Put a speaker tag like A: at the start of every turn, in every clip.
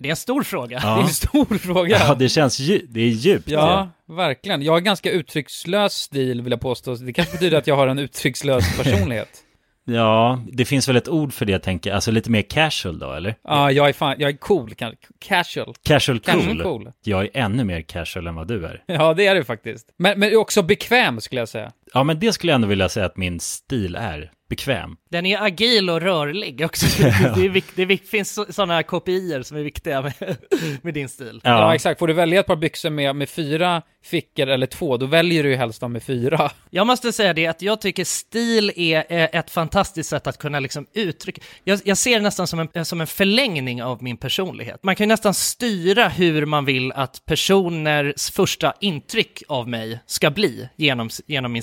A: Det är en stor fråga.
B: Det är en stor fråga.
C: Ja, det känns dju- det är djupt.
B: Ja, verkligen. Jag har ganska uttryckslös stil vill jag påstå. Det kanske betyder att jag har en uttryckslös personlighet.
C: ja, det finns väl ett ord för det tänker jag. Alltså lite mer casual då, eller?
B: Ja, jag är fan, jag är cool, kan- casual.
C: Casual cool.
B: Casual cool.
C: Jag är ännu mer casual än vad du är.
B: Ja, det är du faktiskt. Men, men också bekväm skulle jag säga.
C: Ja, men det skulle jag ändå vilja säga att min stil är. Bekväm.
A: Den är agil och rörlig också. Det, det, är vik- det vik- finns sådana kopior som är viktiga med, med din stil.
B: Ja. exakt. Får du välja ett par byxor med, med fyra fickor eller två, då väljer du ju helst de med fyra.
A: Jag måste säga det att jag tycker stil är eh, ett fantastiskt sätt att kunna liksom uttrycka. Jag, jag ser det nästan som en, eh, som en förlängning av min personlighet. Man kan ju nästan styra hur man vill att personers första intryck av mig ska bli genom, s- genom min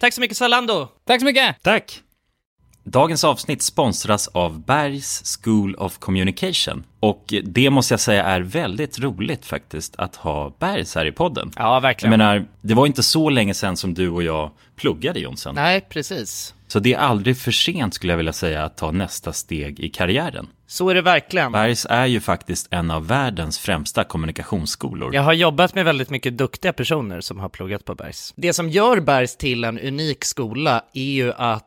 A: Tack så mycket Zalando!
B: Tack så mycket!
C: Tack! Dagens avsnitt sponsras av Bergs School of Communication. Och det måste jag säga är väldigt roligt faktiskt att ha Bergs här i podden.
A: Ja,
C: Jag
A: verkligen.
C: menar, det var inte så länge sedan som du och jag pluggade Jonsson.
A: Nej, precis.
C: Så det är aldrig för sent skulle jag vilja säga att ta nästa steg i karriären.
A: Så är det verkligen.
C: Bergs är ju faktiskt en av världens främsta kommunikationsskolor.
A: Jag har jobbat med väldigt mycket duktiga personer som har pluggat på Bergs. Det som gör Bergs till en unik skola är ju att eh,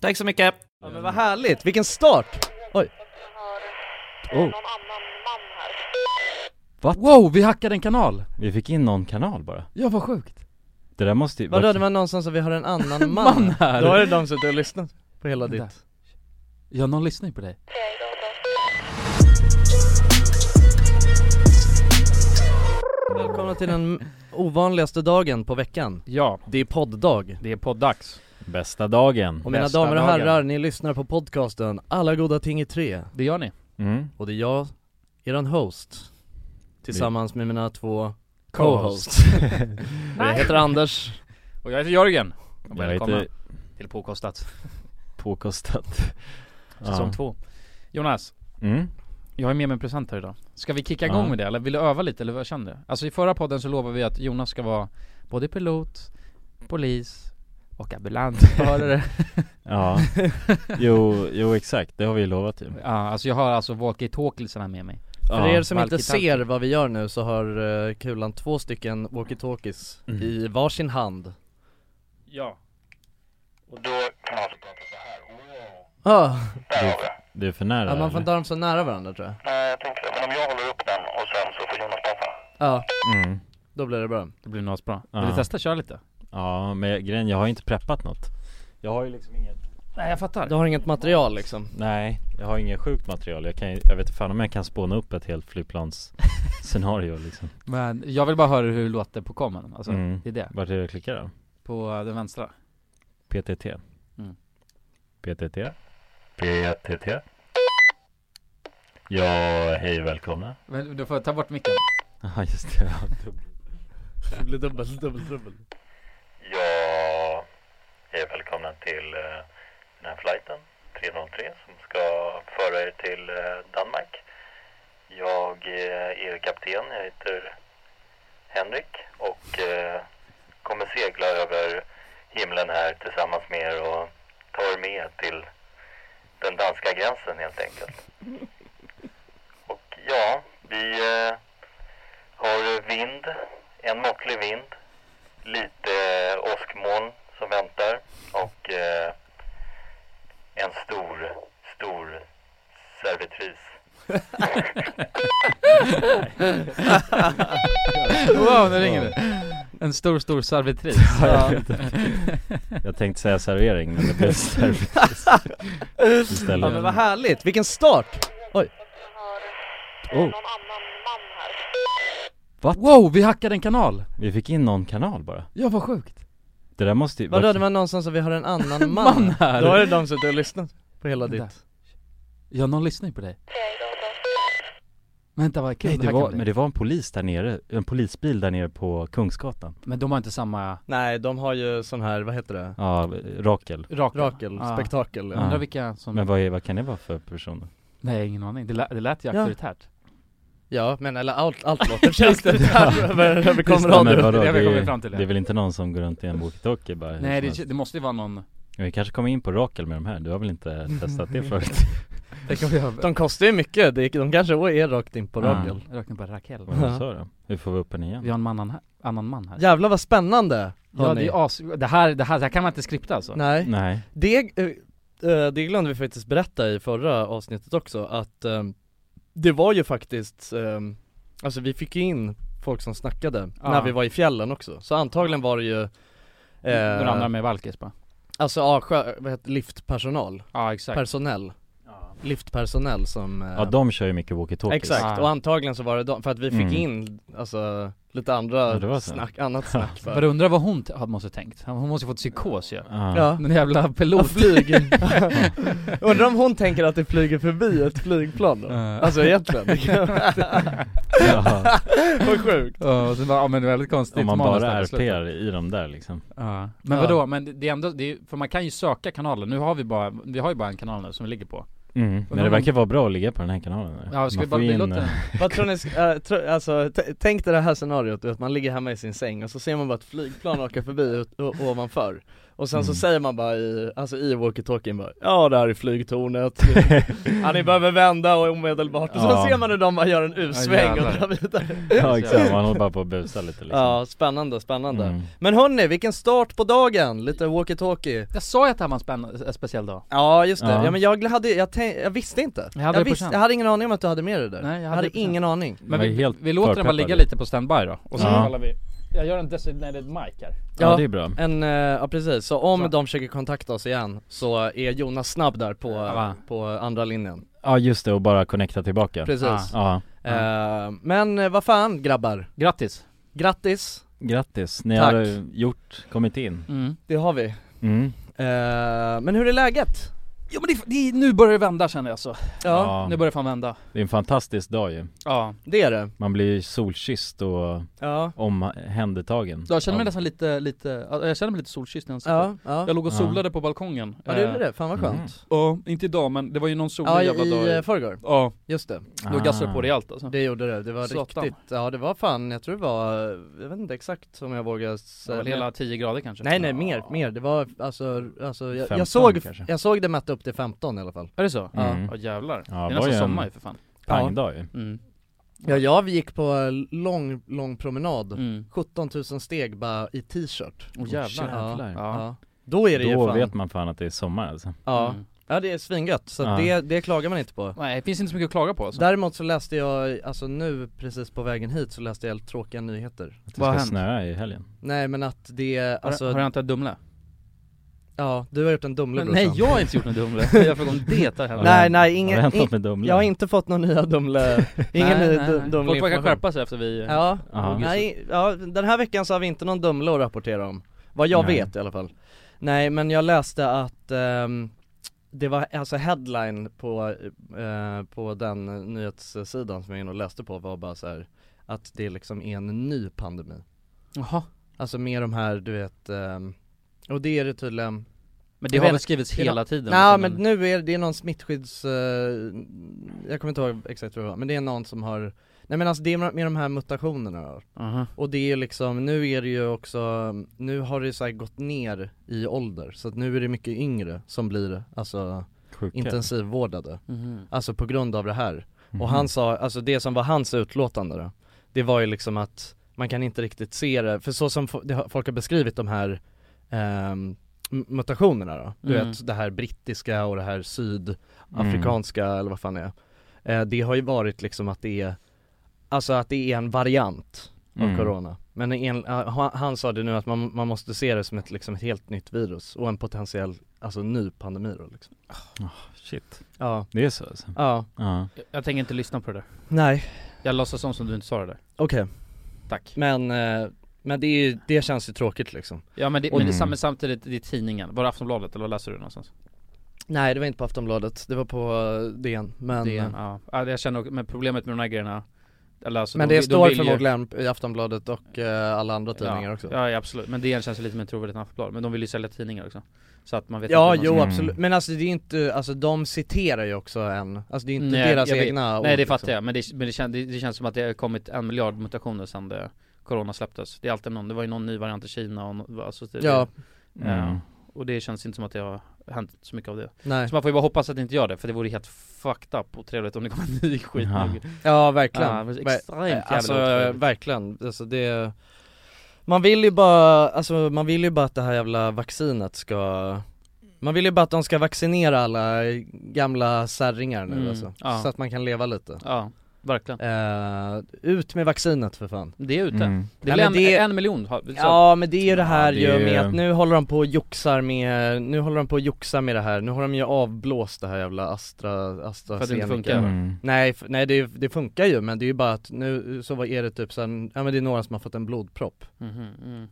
A: Tack så mycket!
D: Ja, men vad härligt, vilken start! Oj. Oh.
C: What?
D: Wow, vi hackade en kanal!
C: Vi fick in någon kanal bara.
D: Ja, vad sjukt!
C: Det där måste ju...
E: Vadå, det var någon som sa vi har en annan man,
D: Man här.
E: Då har ju de suttit och lyssnat på hela
D: Vänta.
E: ditt
D: Ja, någon lyssnar ju på dig
E: Välkomna till den ovanligaste dagen på veckan
F: Ja,
E: Det är podd-dag
F: det är poddags.
C: Bästa dagen.
E: Och mina
F: Bästa
E: damer och
F: dagen.
E: herrar, ni lyssnar på podcasten Alla goda ting i tre
F: Det gör ni.
C: Mm.
E: Och det är jag, eran host Tillsammans med mina två co-hosts
F: Co-host.
E: Jag heter Anders
F: Och jag heter Jörgen. Och
C: Jag
F: välkomna
C: heter
F: till Påkostat,
C: påkostat.
F: säsong två. Jonas,
C: Mm.
B: Jag har med mig en present här idag. Ska vi kicka
C: Ja.
B: igång med det eller vill du öva lite eller vad känner du? Alltså i förra podden så lovade vi att Jonas ska vara både pilot, polis och ambulansförare.
G: Ja, jo, jo exakt, det har vi ju lovat ju.
B: ja, alltså jag har alltså walkie-talkiesarna med mig.
G: Ja.
A: För er som inte
B: Walkie-talkie.
A: ser vad vi gör nu så har eh, Kulan två stycken walkie-talkies i varsin hand
B: Ja.
A: Ja,
G: Det är för nära.
A: man får
G: eller?
A: inte ha dem så nära varandra tror jag Nej
G: mm.
A: jag tänkte det, men om jag håller upp den och sen så får Jonas prata Ja, då blir det bra
B: Det blir nog bra.
G: Ja.
B: Vill du testa köra lite?
G: Ja, men grejen, jag har ju inte preppat något. Jag har ju liksom inget,
B: Nej jag fattar.
A: Du har inget material liksom
G: nej, jag har inget sjukt material. Jag kan ju- jag vet inte fan om jag kan spåna upp ett helt flygplansscenario liksom.
B: Men jag vill bara höra hur det låter på kommen. Alltså
G: Mm.
B: det är det.
G: Vart är det jag klickar då?
B: På eh, den vänstra.
G: PTT.
B: Mm.
G: PTT. PTT. Ja, hej välkomna.
B: Men du får ta bort micken.
G: Ja, just det.
A: Det blir dubbel, dubbel, dubbel
G: Ja, hej välkomna till eh, den här flighten 303 som ska föra er till eh, Danmark. Jag eh, är er kapten, jag heter Henrik och eh, kommer segla över himlen här tillsammans med er och ta er med till den danska gränsen helt enkelt. Och ja, vi eh, har vind, en måttlig vind lite eh, åskmoln som väntar och eh, en stor, stor servitris.
B: Wow, nu ringer det. En stor, stor servitris.
G: Jag tänkte säga servering men det blev servitris
D: Ja men vad
G: istället.
D: härligt, vilken start! Oj Oh,
B: Wow, vi hackade en kanal!
G: Vi fick in någon kanal bara.
B: Ja, vad sjukt!
G: Det där måste ju...
A: Vadå det var någon som sa vi har en annan man,
B: Man här.
A: Då har det de suttit och lyssnat på hela
B: Vänta.
A: ditt
B: Ja, någon lyssnar ju på dig. Vänta vad kul
G: Nej,
B: det
G: det
B: här
G: var,
B: kan bli.
G: men det var en polis där nere, en polisbil där nere på Kungsgatan.
B: Men de har inte samma
A: Nej de har ju sån här, vad heter det?
G: Ja, Rakel.
B: rakel?
A: Rakel,
B: Ja.
A: spektakel
G: Ja.
B: Undrar vilka som...
G: Men vad, är, vad kan det vara för person?
B: Nej, ingen aning. Det lät, det lät ju
A: Ja.
B: auktoritärt.
A: Ja men eller allt, allt låter känns det där över, över
G: Ja, men
A: komradio
G: vadå,
B: det är det vi
G: det,
B: kommer
G: är,
B: fram till, ja.
G: det är väl inte någon som går runt i en walkie-talkie bara?
B: Nej,
G: hur som
B: det, det måste ju vara någon...
G: helst. Vi kanske kommer in på Rakel med de här, du har väl inte testat det förut?
B: Det kan vi ha...
A: De kostar ju mycket, de, de kanske är rakt in på
G: Ja.
A: radion
B: Räkna på Rakel.
G: Vad sa du? Hur får vi upp den igen?
B: Vi har en annan här. Annan man här.
A: Jävlar vad spännande!
B: Ja,
A: hörni.
B: det är as... Det här, det här, det här kan man inte skripta alltså.
A: Nej,
G: Nej.
A: det, eh, eh, det glömde vi faktiskt berätta i förra avsnittet också att eh, det var ju faktiskt, eh, alltså vi fick ju in folk som snackade
B: Ja.
A: när vi var i fjällen också, så antagligen var det ju eh,
B: Några andra med Valkis bara.
A: Alltså ja, sjö, vad heter liftpersonal,
B: Ja, exakt.
A: personell Liftpersonell som eh,
G: Ja de kör ju mycket walkie-talkies
A: Exakt,
B: Ja.
A: och antagligen så var det de, för att vi fick
G: Mm.
A: in alltså lite andra
G: Ja, det var så.
A: snack, annat snack
B: Men
A: för.
B: undrar vad hon t- måste ha tänkt. Hon måste ju fått psykos ju.
G: Ja.
A: Ja,
B: Den jävla pilot.
A: flyg Undrar om hon tänker att det flyger förbi ett flygplan då? Alltså egentligen, det kan
G: Ja.
A: Vad sjukt
B: Ja, och sen bara, ja men det är väldigt konstigt
G: Om man
B: manus
G: bara
B: där på slutet.
G: RPR i dem där liksom
B: Ja. Men
A: Ja.
B: vadå, men det är ändå, det är, för man kan ju söka kanaler, nu har vi bara, vi har ju bara en kanal nu som vi ligger på
G: Men det verkar vara bra att ligga på den här kanalen eller?
B: Mm. Ja, ska
G: Man
B: vi bara
G: får ju in,
B: låta den?
G: eh,
A: Vad tror ni, äh, tro, alltså t- tänk dig det här scenariot du vet, man ligger hemma i sin säng och så ser man bara ett flygplan åka förbi ut- o- ovanför och sen så
G: Mm.
A: säger man bara i, alltså i walkie-talkien bara Ja det här är flygtornet, ja ni behöver vända och omedelbart och sen
G: Ja.
A: ser man hur de bara gör en U-sväng och
B: jävlar.
A: drar vidare
G: Ja exakt, man håller bara på att busa lite liksom
A: Ja, spännande, spännande
G: Mm.
A: Men hörni, vilken start på dagen! Lite walkie-talkie
B: Jag sa ju att det här var en spänn- en speciell dag
A: Ja just det, ja,
G: Ja.
A: men jag hade, jag, tänk, jag visste inte
B: Jag hade det på
A: visste,
B: känn.
A: jag hade ingen aning om att du hade med det där
B: Nej, jag
A: jag
B: hade
A: hade
B: det på känn.
A: ingen aning
B: Men
G: Jag är
B: vi,
G: helt
B: vi låter den bara
G: förpeppad.
B: ligga lite på standby då, och så
G: Ja.
B: kollar vi Jag gör en designated mic här
G: Ja,
A: Ja.
G: det är bra
A: En, eh, ja precis, så om
B: Så.
A: de försöker kontakta oss igen så är Jonas snabb där på,
B: va.
A: på andra linjen
G: Ja just det, och bara connecta tillbaka
A: Precis
G: Ja,
A: Eh, Men eh, vad fan grabbar,
B: Grattis!
A: grattis!
G: grattis, ni
A: Tack.
G: har eh, gjort, kommit in
B: Mm.
A: Det har vi
G: mm.
A: Eh, Men hur är läget?
B: Jo men det, det, nu börjar det vända känner jag alltså. så. Ja.
F: Ja.
B: Nu börjar det fan vända.
F: Det är en fantastisk dag ju
B: Ja.
A: Det är det.
F: Man blir solkysst och
A: Ja.
F: omhändertagen
B: Jag känner mig
F: av-
B: nästan lite, lite, ja, jag känner mig lite solkysst när jag
A: Ja,
B: sitter.
A: ja.
B: Jag låg och
F: Ja.
B: solade på balkongen Eh,
A: Ja, du gjorde det. Fan, vad skönt. Mm.
B: Ja, inte idag men det var ju någon solig
A: Ja, i-
B: jävla dag
A: i förrgår.
B: Ja
A: Just det.
B: Då gassade eh, det på rejält alltså
A: Det gjorde det, det var
B: Satan.
A: riktigt, ja det var fan, jag tror det var, jag vet inte exakt om jag vågar säga
B: Det var väl hela 10 grader kanske?
A: Nej nej, mer, mer, det var alltså, alltså jag,
B: 15
A: jag såg,
B: kanske.
A: jag såg det mätta upp till 15 i alla fall
B: Är det så?
A: Mm. Ja,
B: Ja jävlar, det är nästan sommar ju för fan
F: pangdag ju.
B: Mm.
A: Ja jag gick på en lång, lång promenad,
B: Mm.
A: 17 000 steg bara i t-shirt
B: Åh, jävlar.
A: Ja,
F: Jävlar.
A: ja. Mm. Då är det ju
F: Då
A: fan,
F: vet man fan att det är sommar alltså
A: ja. ja det är svingött, så
F: Ja.
A: det, det klagar man inte på
B: Nej det finns inte så mycket att klaga på alltså
A: Däremot så läste jag, alltså nu precis på vägen hit så läste jag helt tråkiga nyheter
F: Att det ska snöa i helgen
A: Nej men att det, alltså
B: Har jag inte en Dumle?
A: Ja, du har gjort en Dumle
B: Nej,
A: brorsan.
B: jag har inte gjort en Dumle. Jag frågar om det har hänt.
A: Nej nej,
B: Har det
A: ingen,
B: hänt något
A: in-
B: med Dumle?
A: jag har inte fått någon nya Dumle, ingen
B: Nej,
A: ny
B: nej,
A: du-
B: nej.
A: Dumle
B: Folk verkar skärpa sig efter vi-
A: Ja,
B: Ja.
A: nej, ja, den här veckan så har vi inte någon Dumle att rapportera om Vad jag
B: Nej.
A: vet i alla fall Nej men jag läste att ehm, det var alltså headline på, eh, på den nyhetssidan som jag in och läste på var bara så här Att det liksom är en ny pandemi
B: Jaha
A: Alltså med de här du vet, ehm, och det är det tydligen
B: Men det
A: Jag
B: har
A: vet-
B: väl skrivits
A: det är
B: hela
A: nå-
B: tiden?
A: Nej
B: Att
A: men
B: den-
A: nu är det är någon smittskydds, eh, jag kommer inte ihåg exakt vad det var, men det är någon som har Nej men alltså det är med de här mutationerna då.
B: Aha.
A: Och det är ju liksom, nu är det ju också, nu har det ju så här gått ner i ålder så att nu är det mycket yngre som blir alltså
F: Sjuka.
A: intensivvårdade
B: Mhm.
A: Alltså på grund av det här.
F: Mhm.
A: Och han sa, alltså det som var hans utlåtande då, det var ju liksom att man kan inte riktigt se det, för så som fo- det har- folk har beskrivit de här ehm, m- mutationerna då, du
B: Mm.
A: vet det här brittiska och det här sydafrikanska eller vad fan det är. Eh, det har ju varit liksom att det är, alltså att det är en variant av
F: Mm.
A: corona. Men en, eh, han- han sa det nu att man, man måste se det som ett, liksom ett helt nytt virus och en potentiell, alltså ny pandemi då liksom.
F: Shit
A: Ja.
F: Det är så alltså?
A: Ja.
F: Ja
B: Jag- Jag tänker inte lyssna på det där
A: Nej
B: Jag låtsas som som du inte sa det där
A: Okej
B: Tack
A: Men, eh, men det, är ju, det känns ju tråkigt liksom
B: Ja men det,
A: Och-
B: men det är sam- samtidigt, det är tidningen, var det Aftonbladet eller vad läser du någonstans?
A: Nej det var inte på Aftonbladet, det var på eh, DN Men,
B: DN, ja. ja, det jag känner, nog- men problemet med de här grejerna eller alltså
A: men
B: de,
A: det
B: de
A: står
B: vill ju-
A: förmodligen i Aftonbladet och eh, alla andra tidningar
B: ja,
A: också
B: Ja, ja absolut, men DN känns ju lite mer trovärdigt än Aftonbladet, men de vill ju sälja tidningar också Så att man vet
A: Ja
B: inte hur
A: jo
B: man ska-
A: absolut, men alltså det är inte, alltså de citerar ju också en, alltså det är inte
B: Nej,
A: deras
B: jag vet.
A: egna
B: Nej
A: ord,
B: det fattar jag, men, det, men det, kän, det, det känns som att det har kommit en miljard mutationer sedan det, Corona släpptes Det är alltid någon, det var ju någon ny variant i Kina och no, alltså det,
A: liksom. Ja.
B: det, eh,
F: Mm.
B: Och det känns inte som att det har hänt så mycket av det
A: Nej.
B: Så man får ju bara hoppas att det inte gör det, för det vore helt fucked up och trevligt om det kom en ny skit
A: Ja.
B: nog.
A: Ja verkligen
B: Ja, det var extremt jävla
A: Alltså
B: otrevligt.
A: verkligen, alltså det Man vill ju bara, alltså man vill ju bara att det här jävla vaccinet ska Man vill ju bara att de ska vaccinera alla gamla särringar nu
B: Mm,
A: alltså,
B: ja.
A: så att man kan leva lite
B: Ja, verkligen
A: Eh, Ut med vaccinet för fan
B: Det är ute.
A: Mm.
B: Det
A: Ja,
B: är
A: men
B: väl en,
A: det-
B: en miljon? har- så-
A: Ja men det är ju det här
B: det
A: ju
B: är-
A: med att nu håller de på och joxar med, nu håller de på och joxar med det här, nu har de ju avblåst det här jävla Astra, Astra
B: För att det inte funkar. Mm.
A: Nej, f- nej det, det funkar ju men det är ju bara att nu så vad är det typ sen, ja men det är några som har fått en blodpropp
B: Mhm, mm.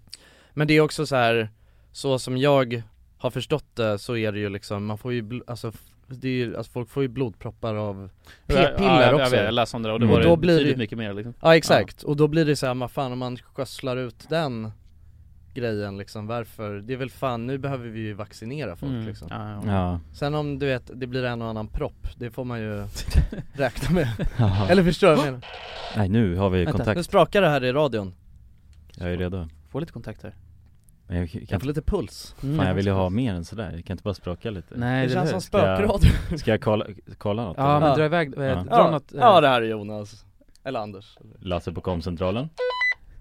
A: Men det är också så här så som jag har förstått det så är det ju liksom, man får ju, bl- alltså f- det är ju, alltså folk får ju blodproppar av
B: Ja, ja,
A: p-piller
B: jag- jag
A: också
B: vet, jag läste om det och då var det betydligt mycket mer, liksom.
A: Ja exakt, och då blir det så här, vad fan om man skösslar ut den grejen liksom, varför? Det är väl fan, nu behöver vi ju vaccinera folk
B: Mm.
A: liksom
B: Ja,
F: ja. Ja.
A: Sen om du vet, det blir en och annan propp, det får man ju räkna med
F: Ja.
A: Eller förstår du vad jag menar?
F: Nej nu har vi
A: Vänta,
F: kontakt,
A: Nu sprakar det här i radion
F: jag är redo
B: Få lite kontakt här Mm.
F: Men jag, kan,
A: Jag får lite puls
F: Fan jag vill ju ha mer än sådär, jag kan inte bara spraka lite
B: Nej,
A: Det det känns som
F: Ska jag-
A: spökradio.
F: Ska jag kolla, kolla något?
B: Ja,
F: eller?
B: men dra iväg- eh,
F: Ja.
B: dra Ja. något, eh.
A: Ja det här är Jonas, eller Anders
F: Lasse på komcentralen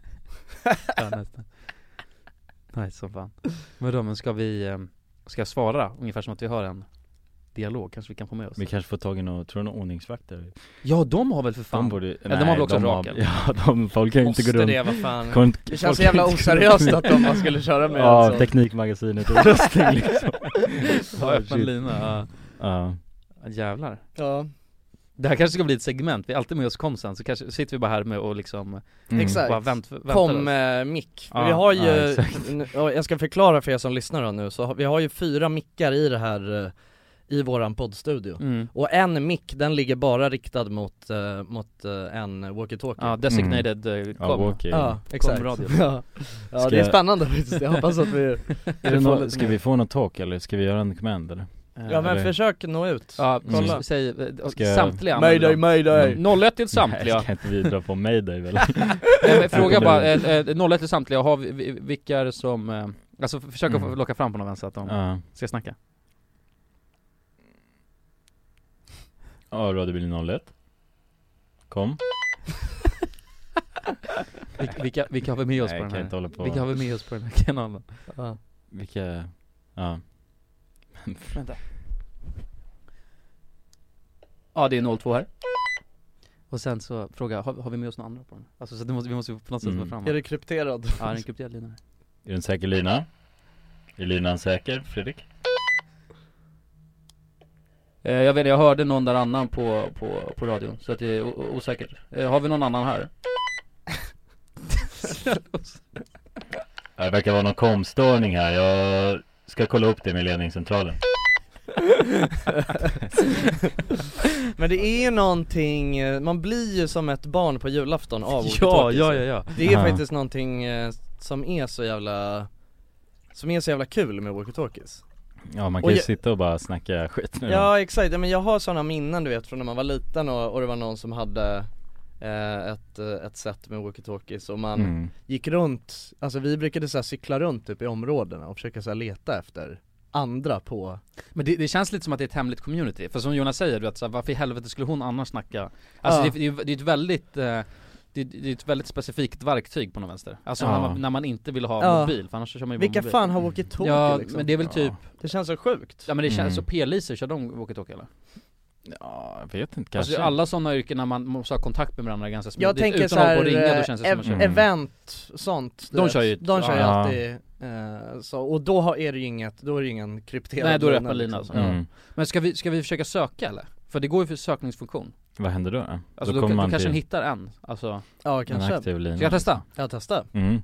B: Ja, nästan. Nej som fan Vadå men ska vi, eh, ska jag svara ungefär som att vi har en dialog, kanske vi kan få med oss
F: Vi kanske får tag i någon, tror du någon ordningsvakter?
B: Ja de har väl för fan,
F: De borde,
B: ja, de har väl också
F: har-
B: rakel?
F: Ja, de, folk kan ju inte gå
A: Måste
F: runt
A: det, vad fan.
F: Kom inte-
A: Det känns
F: folk
A: så jävla
F: kan inte gå
A: oseriöst
F: runt
A: att de alltså- bara skulle köra med en
F: Ja,
A: sån.
F: Teknikmagasinet och röstning liksom
B: Ja, öppen
F: Shit.
B: lina, ja.
F: Ja,
B: Ja, Jävlar
A: Ja
B: Det här kanske ska bli ett segment, vi är alltid med oss kom sen så kanske sitter vi bara här med och liksom
A: Mm. Exakt.
B: bara vänt, väntar
A: Kom
B: oss.
A: eh, mick,
B: Ja,
A: vi har
B: ja,
A: ju,
B: exakt.
A: n- ja, jag ska förklara för er som lyssnar då nu, så har- vi har ju fyra mickar i det här eh, i våran poddstudio
B: Mm.
A: Och en mick, den ligger bara riktad mot, eh, mot eh, en walkie-talkie
B: Ja, designated, eh, Mm. com. Ja, walkie-
A: Ja, exakt
B: comradio.
A: ja. ja, det är
F: Ska-
A: spännande faktiskt, jag hoppas att vi,
F: Är
A: vi får
F: det nå-
A: lite
F: ska
A: mer.
F: vi få något talk eller ska vi göra en command eller?
B: Eh,
A: Ja men
F: Eller-
A: försök nå ut,
B: Ja,
F: Mm.
B: kolla. Säg, eh,
F: Ska jag-
B: samtliga
F: Mayday,
A: mayday.
B: 01 till samtliga
F: Nej, ska inte vi dra på mayday väl?
B: Nej, men Fråga
F: Eller-
B: bara, eh, eh, 01 till samtliga, har vi, vi- vilka är det som, eh, alltså f- försök att få- locka fram på någon vän så att de
F: Mm. Ja.
B: ska snacka
F: Ja, radiobilen 01 Kom
B: Vil- Vilka, vilka har vi med oss
F: Nej,
B: på
F: jag
B: den
F: kan
B: här?
F: inte hålla på.
B: Vilka har vi med oss på den här kanalen?
A: Ja.
F: Vilka, ja
B: Vänta Ja det är 02 här Och sen så fråga, har, har vi med oss några andra på den? Alltså så det måste, vi måste ju på något sätt
F: Mm.
B: få fram
A: Är det krypterad?
B: Ja det är en krypterad lina här.
F: Är det en säker lina? Är linan säker, Fredrik?
B: Eh, Jag vet inte, jag hörde någon där annan på, på, på radion, så att det är o- o- osäkert. Eh, Har vi någon annan här?
F: Ja, Det verkar vara någon komstörning här, jag ska kolla upp det med ledningscentralen
A: Men det är ju någonting, eh, man blir ju som ett barn på julafton av
B: Ja,
A: walkie-talkies.
B: ja, ja, ja.
A: Det är
B: Ja.
A: faktiskt någonting eh, som är så jävla, som är så jävla kul med walkie-talkies
F: Ja man
A: Och
F: kan ju
A: jag-
F: sitta och bara snacka skit med dem.
A: Ja exakt, Ja, men jag har sådana minnen du vet från när man var liten och, och det var någon som hade eh, ett, eh, ett sätt med walkie-talkies och man
F: Mm.
A: gick runt, alltså vi brukade så här cykla runt typ i områdena och försöka så här leta efter andra på
B: Men det, det känns lite som att det är ett hemligt community, för som Jonas säger, du vet, så här, varför i helvete skulle hon annars snacka? Alltså
A: Ja.
B: det, det, är ju- det är ett väldigt eh, det, det är ett väldigt specifikt verktyg på någon vänster, alltså
A: Ja.
B: när, man, när man inte vill ha
A: Ja.
B: mobil, för annars så kör man ju bara
A: Vilka
B: mobil.
A: fan har walkie-talkie
B: Ja,
A: liksom?
B: men det är väl typ
A: Det känns så sjukt
B: Ja men det känns,
F: Mm.
B: så p-liser, kör de walkie-talkie eller?
F: Ja, jag vet inte kanske
B: Alltså alla sådana yrken när man måste ha kontakt med varandra ganska smidigt,
A: Jag tänker
B: utan att hålla på
A: såhär,
B: och ringa, då känns det som att man
A: ev-
B: kör-
A: event, sånt du
B: De
A: vet.
B: kör ju-
A: De kör ju
B: ja.
A: alltid, eh, så, och då har, är det ju inget, då är det ju ingen krypterad
B: Nej då är det
A: lina,
B: öppen lina
A: liksom.
B: alltså. Men ska vi, ska vi försöka söka eller? För det går ju för sökningsfunktion
F: Vad händer då? då?
B: Alltså då, då,
F: kommer man
B: kanske
F: till-
B: den hittar en, alltså
A: Ja
F: kanske. aktiv lina.
A: Mm.
B: Ska jag testa?
A: Ja testa
F: Mm.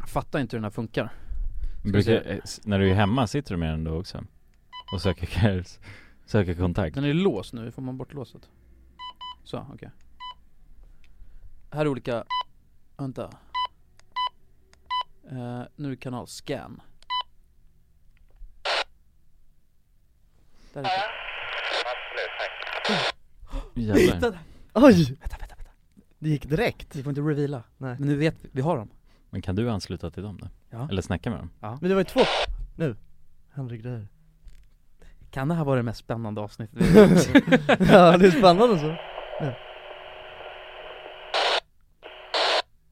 B: Jag fattar inte hur den här funkar Ska vi
F: Brukar,
B: se.
F: eh, s- när du är hemma sitter du med den då också? Och söker, söker kontakt?
B: Den är låst nu, hur får man bort låset? Så, okej Här är olika, vänta Eh, Nu kanal, scan Där är det.
F: Jävlar.
B: Hittade.
A: Oj! Vänta, vänta, vänta Det gick direkt
B: Vi får inte reveala
A: Nej
B: Men nu vet vi, vi har dem
F: Men kan du ansluta till dem då?
B: Ja.
F: Eller snacka med dem?
B: Ja
A: Men det var ju två, nu händer grejer
B: Kan det här vara det mest spännande avsnittet
A: Ja det är spännande så ja.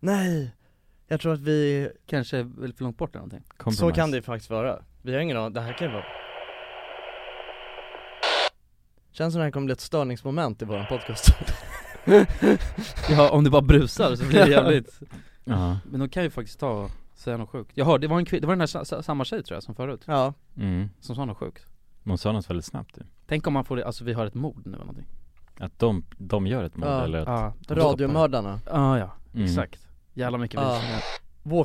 A: Nej, jag tror att vi
B: Kanske är väl för långt bort eller någonting
A: Så kan det ju faktiskt vara. Vi har ingen aning, det här kan ju vara Känns som det här kommer bli ett störningsmoment i våran podcast
B: Ja, om det bara brusar så blir det jävligt
F: Ja.
B: Men de kan ju faktiskt ta och säga något sjukt Jag hörde, det var en kvin- det var den här sa- sa- samma tjej tror jag som förut
A: Ja
F: Mm.
B: Som sa något sjukt
F: Men Hon sa något väldigt snabbt ju.
B: Tänk om man får det, alltså vi har ett mord nu eller någonting
F: Att de, de gör ett mord
A: Ja.
F: eller att
B: Ja.
F: de stoppar.
A: Radiomördarna
B: Ja, ja,
F: Mm.
B: exakt Jävla mycket
A: Ja.
B: visning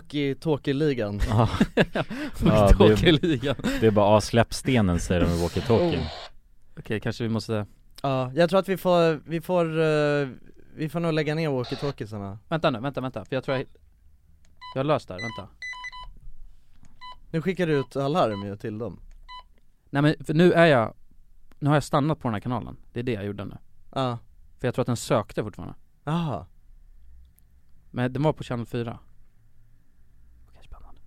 A: Walkie-talkie-ligan
F: Ja.
B: ja,
F: det, är,
B: ligan
F: det är bara, ah, släpp stenen säger de i walkie-talkien.
A: Oh.
B: Okej, kanske vi måste,
A: Ja, jag tror att vi får, vi får, eh, vi får nog lägga ner walkie-talkiesarna
B: vänta nu, vänta, vänta, för jag tror jag Jag har löst det här, vänta
A: Nu skickar du ut alarm ju till dem
B: Nej men, för nu är jag Nu har jag stannat på den här kanalen, det är det jag gjorde nu
A: Ja,
B: För jag tror att den sökte fortfarande
A: jaha
B: Men den var på channel 4 Okej, spännande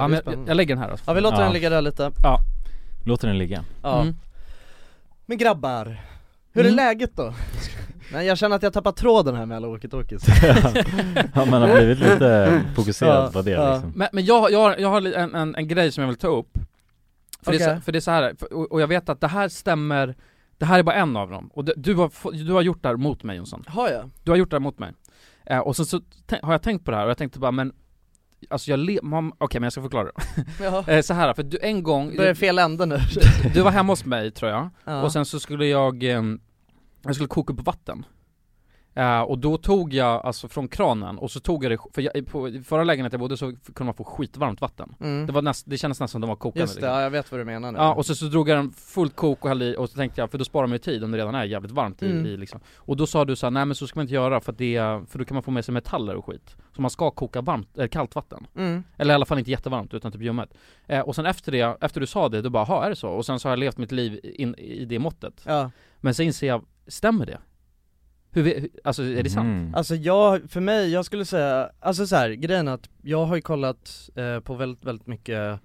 A: det är
B: men jag,
A: spännande.
B: jag lägger den här då
A: Ja vi låter
F: Ja.
A: den ligga där lite
F: Låter den ligga.
A: Ja
B: Mm.
A: Men grabbar, hur är
B: Mm.
A: läget då? Nej jag känner att jag tappar tråden här med alla walkie-talkies
F: ja, man har blivit lite fokuserad
A: Ja,
F: på det
A: ja.
F: liksom.
B: Men, men jag, har- jag, har- jag har li- en, en, en grej som jag vill ta upp För, det, är
A: Okej.
B: så, för det är så här, för, och, och jag vet att det här stämmer Det här är bara en av dem, och det, du, har, få- du har gjort det här mot mig Jonsson
A: Har jag?
B: Du har gjort det här mot mig eh, Och sen så tän- har jag tänkt på det här och jag tänkte bara men Alltså jag le- man, okej men jag ska förklara det
A: Jaha
B: eh, Så här för du en gång
A: Då är det fel ände nu
B: Du var hemma hos mig tror jag, ehm,
A: Ja.
B: och sen så skulle jag, eh, jag skulle koka upp vatten Eh, och då tog jag alltså från kranen och så tog jag det, för jag, på i förra lägenheten jag bodde så kunde man få skitvarmt vatten
A: Mm.
B: Det var näst, det kändes nästan som de var kokande
A: Just det,
B: liksom.
A: ja, jag vet vad du menar nu.
B: Ja och så, så drog jag den fullt kok och hällde i och så tänkte jag, för då sparar man ju tid om det redan är jävligt varmt i,
A: Mm.
B: i liksom Och då sa du så här, nej men så ska man inte göra för att det, för då kan man få med sig metaller och skit Så man ska koka varmt, äh, kallt vatten
A: Mm.
B: Eller i alla fall inte jättevarmt utan typ ljummet eh, Och sen efter det, efter du sa det, då bara, ha är det så? Och sen så har jag levt mitt liv in, i det måttet
A: Ja.
B: Men så inser jag, stämmer det? Hur, vi- hur alltså är det sant?
F: Mm.
A: Alltså jag, för mig, jag skulle säga, alltså så här, grejen är att jag har ju kollat eh, på väldigt, väldigt mycket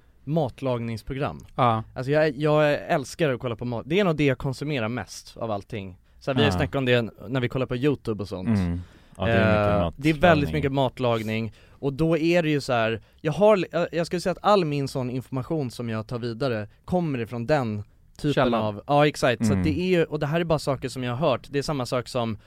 A: matlagningsprogram
B: Ja.
A: Alltså jag, jag älskar att kolla på mat, det är nog det jag konsumerar mest av allting så här, vi har
F: Ja.
A: snackat om det när vi kollar på youtube och sånt
F: Mm. Ja, det är mycket
A: Eh, det är väldigt
F: matlagning.
A: mycket matlagning och då är det ju så här, jag har, jag- jag skulle säga att all min sån information som jag tar vidare kommer ifrån den typen
B: Källan.
A: av, ja exakt, så
B: Mm.
A: att det är ju, och det här är bara saker som jag har hört, det är samma sak som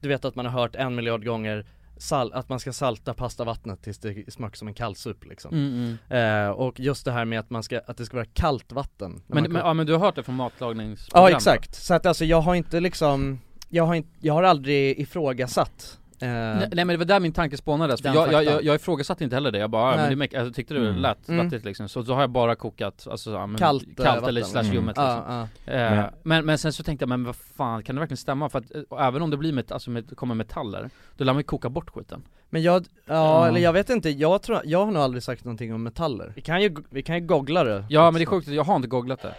A: du vet att man har hört en miljard gånger sal- att man ska salta pastavattnet tills det smakar som en kallsup liksom.
B: Mm,
A: Eh, och just det här med att man ska, att det ska vara kallt vatten när man
B: Men, men, ja, men du har hört det från matlagningsprogram?
A: Ja
B: då?
A: exakt, så att alltså jag har inte liksom, jag har, inte, jag har aldrig ifrågasatt eh,
B: Nej, nej men det var där min tanke spånades, för
A: Den
B: jag, jag,
A: faktan.
B: jag, jag ifrågasatte inte heller det, jag bara, ja, men
A: Nej.
B: det make, alltså, tyckte det
A: Mm.
B: lät
A: Mm.
B: vettigt liksom, så då har jag bara kokat, alltså, ja, men,
A: Kallt, eh,
B: kallt eller
A: vatten.
B: slash ljummet
A: Mm.
B: liksom.
A: Ja, ja.
B: Eh,
A: Men-
B: men, men sen så tänkte jag, men vad fan, kan det verkligen stämma? För att eh, och även om det blir met, alltså, met, kommer metaller, då lär man ju koka bort skiten
A: Men jag, ja,
B: Ja.
A: eller jag vet inte, jag tror, jag har nog aldrig sagt någonting om metaller Vi kan ju, vi kan ju googla det
B: Ja men det är sjukt, jag har inte googlat det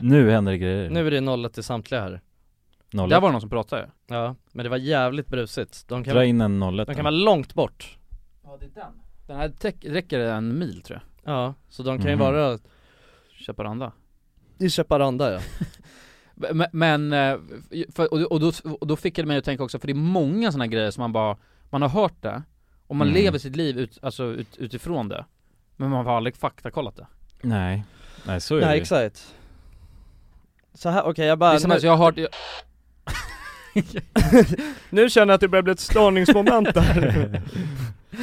F: Nu händer det grejer.
A: Nu är det nollat till samtliga här
F: Noll.
B: Där var det någon som pratade
A: Ja, men det var jävligt brusigt De kan,
F: Dra in en noll
A: de kan vara långt bort
B: Ja det är den Den här täck- räcker en mil tror
A: jag Ja, så de kan
B: Mhm.
A: ju vara
B: Chaparanda
A: i Chaparanda ja
B: Men, men eh, för, och, då- och, då, och då fick det mig att tänka också, för det är många sådana grejer som man bara, man har hört det, och man
F: Mm.
B: lever sitt liv ut, alltså, ut, utifrån det Men man har aldrig faktakollat det
F: Nej. Nej, så är det
A: Nej
F: ju.
A: exakt Så här, okej jag
B: Det
A: bara
B: är som att jag har hört, jag,
A: Nu känner jag att det börjar bli ett störningsmoment där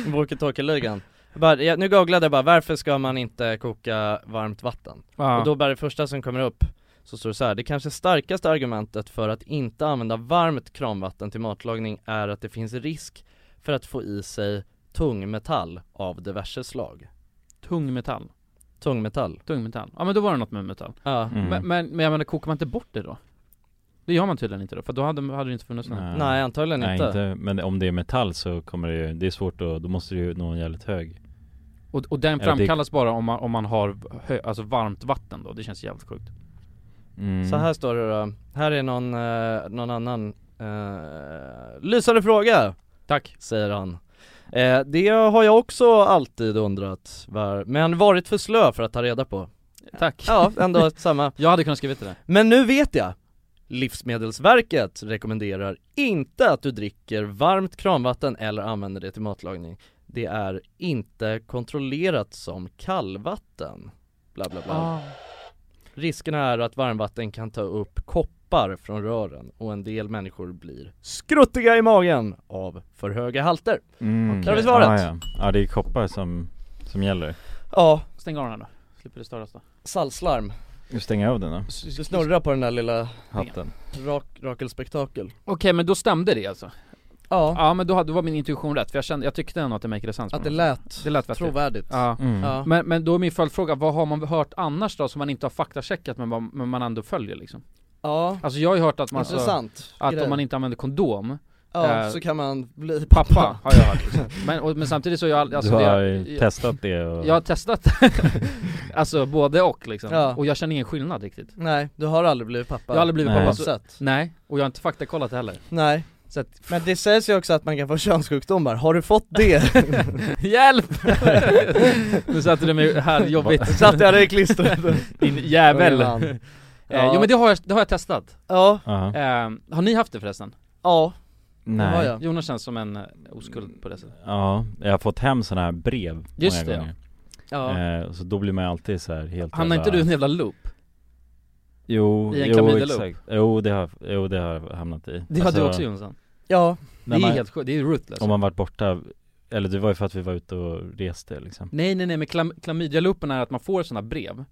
A: Walkie-talkie-ligan Jag bara, jag, Nu googlade jag bara, varför ska man inte koka varmt vatten?
B: Ja.
A: Och då bara det första som kommer upp så står det så här, det kanske starkaste argumentet för att inte använda varmt kranvatten till matlagning är att det finns risk för att få i sig tungmetall av diverse slag
B: tungmetall
A: Tungmetall? Mm.
B: Tungmetall, ja men då var det något med metall
A: Ja
B: men, men, men jag menar, kokar man inte bort det då? Det gör man tydligen inte då, för då hade, hade det inte funnits någon
A: Nej, antagligen
F: Nej,
A: inte.
F: inte. Men om det är metall så kommer det ju, det är svårt att, då måste det ju nå en jävligt hög.
B: och, och den
F: Ja, det-
B: framkallas bara om man, om man har hö, alltså varmt vatten då, det känns jävligt sjukt
F: Mm.
A: Så här står det då, här är någon, eh, någon annan eh, Lysande fråga!
B: Tack
A: Säger han eh, Det har jag också alltid undrat, var, men varit för slö för att ta reda på
B: Tack
A: Ja, ändå samma
B: Jag hade kunnat skrivit det där
A: Men nu vet jag! Livsmedelsverket rekommenderar inte att du dricker varmt kranvatten eller använder det till matlagning Det är inte kontrollerat som kallvatten Bla bla bla Riskerna är att varmvatten kan ta upp koppar från rören och en del människor blir skruttiga i magen av för höga halter
F: Mm.
A: Där har vi svaret.
F: Ja, ja. ja, det är koppar som, som gäller.
A: Ja,
B: Stäng av den här då, slipper det störas då
A: salslarm
F: Nu stänger jag av den då,
A: Du snurrar på den där lilla
F: hatten.
A: rak, rakelspektakel
B: Okej men då stämde det alltså?
A: Ja,
B: Ja men då hade- då var min intuition rätt, för jag kände, jag tyckte ändå att det make sense
A: att det
B: på något sätt.
A: lät
B: det lät vettigt.
A: trovärdigt
B: Ja.
F: Mm.
A: Ja.
B: Men, men då är min följdfråga, vad har man hört annars då som man inte har faktacheckat men, man- men man ändå följer liksom?
A: Ja,
B: Alltså jag har ju hört att man så,
A: intressant
B: att
A: grej.
B: om man inte använder kondom,
A: Ja,
B: eh,
A: så kan man bli pappa,
B: pappa har jag hört liksom. men, och, men samtidigt så har jag, alltså,
F: du har
B: det-
F: ju testat det och...
B: jag, jag har testat, alltså både och liksom,
A: Ja.
B: och jag känner ingen skillnad riktigt
A: Nej, du har aldrig blivit pappa
B: Jag har aldrig blivit
F: Nej.
B: pappa,
A: På
B: så,
A: sätt.
B: nej, och jag har inte faktakollat det heller
A: Nej,
B: så att,
A: men det sägs ju också att man kan få könssjukdomar, har du fått det?
B: Hjälp! nu satte du mig här jobbigt
A: Satt jag dig i klistret?
B: Din jävel!
A: Unge man.
B: Eh,
A: Ja.
B: Jo men det har jag, det har jag testat
A: Ja,
F: Aha.
B: eh, Har ni haft det förresten?
A: ja, det har
F: Nej.
A: jag
B: Jonas känns som en eh, oskuld på det sättet
F: Ja, jag har fått hem sådana här brev
B: Just
F: många
B: det,
F: gånger.
B: ja.
F: Eh, så då blir man ju alltid så här helt
B: Hamnar inte
F: jävla-
B: du i en jävla loop?
F: Jo,
B: i en
F: jo
B: klamydialoop?
F: exakt. Jo det, har, jo det har jag hamnat i.
B: Det har
C: Alltså,
B: du också Jonsson
A: Ja,
B: Det
F: när
B: är
F: man-
B: helt sjukt, det är rootless
F: Alltså- Om man varit borta, eller det var ju för att vi var ute och reste liksom
B: Nej nej nej men klam- klamydialoopen är att man får sådana brev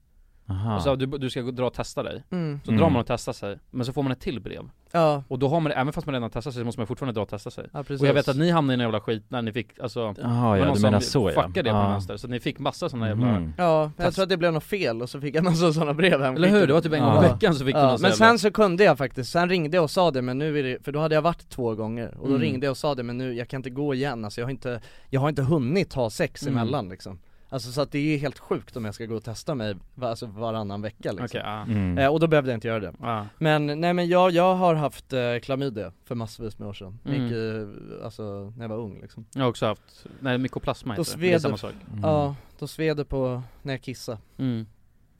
C: Aha.
B: Och så, du, du ska gå- dra och testa dig.
A: Mm.
B: Så
C: Mm.
B: drar man och testar sig, men så får man ett till brev.
A: Ja.
B: Och då har man det, även fast man redan testat sig så måste man fortfarande dra och testa sig.
A: Ja, precis.
B: och jag vet att ni hamnade i en jävla skit när ni fick, alltså, det var
C: ja,
B: någon
C: du
B: som
C: menar så, ja. Ah.
B: fuckade det på
C: Ja.
B: vänster, så ni fick massa sådana jävla
C: Mhm.
A: Ja, men jag tror att det blev något fel och så fick jag massa sådana brev hem
B: Eller hur? Det var typ en gång i veckan så fick du
A: ja,
B: någon
A: Men
B: jävla-
A: sen så kunde jag faktiskt, sen ringde jag och sa det men nu är det, för då hade jag varit två gånger och då
B: Mm.
A: ringde jag och sa det men nu, jag kan inte gå igen alltså jag har inte, jag har inte hunnit ha sex
B: Mm.
A: emellan liksom Alltså så att det är ju helt sjukt om jag ska gå och testa mig va- alltså varannan vecka liksom
B: Okej, ja.
C: Mm.
A: eh, Och då behövde jag inte göra det
B: Ja.
A: Men nej men jag, jag har haft eh, klamydia för massvis med år sedan,
B: Mm.
A: gick, eh, alltså när jag var ung liksom
B: Jag har också haft, nej mykoplasma
A: Då
B: heter det,
A: sved
B: det är
A: det.
B: samma sak
C: mm.
A: Ja, då sved det på när jag kissade
B: mm.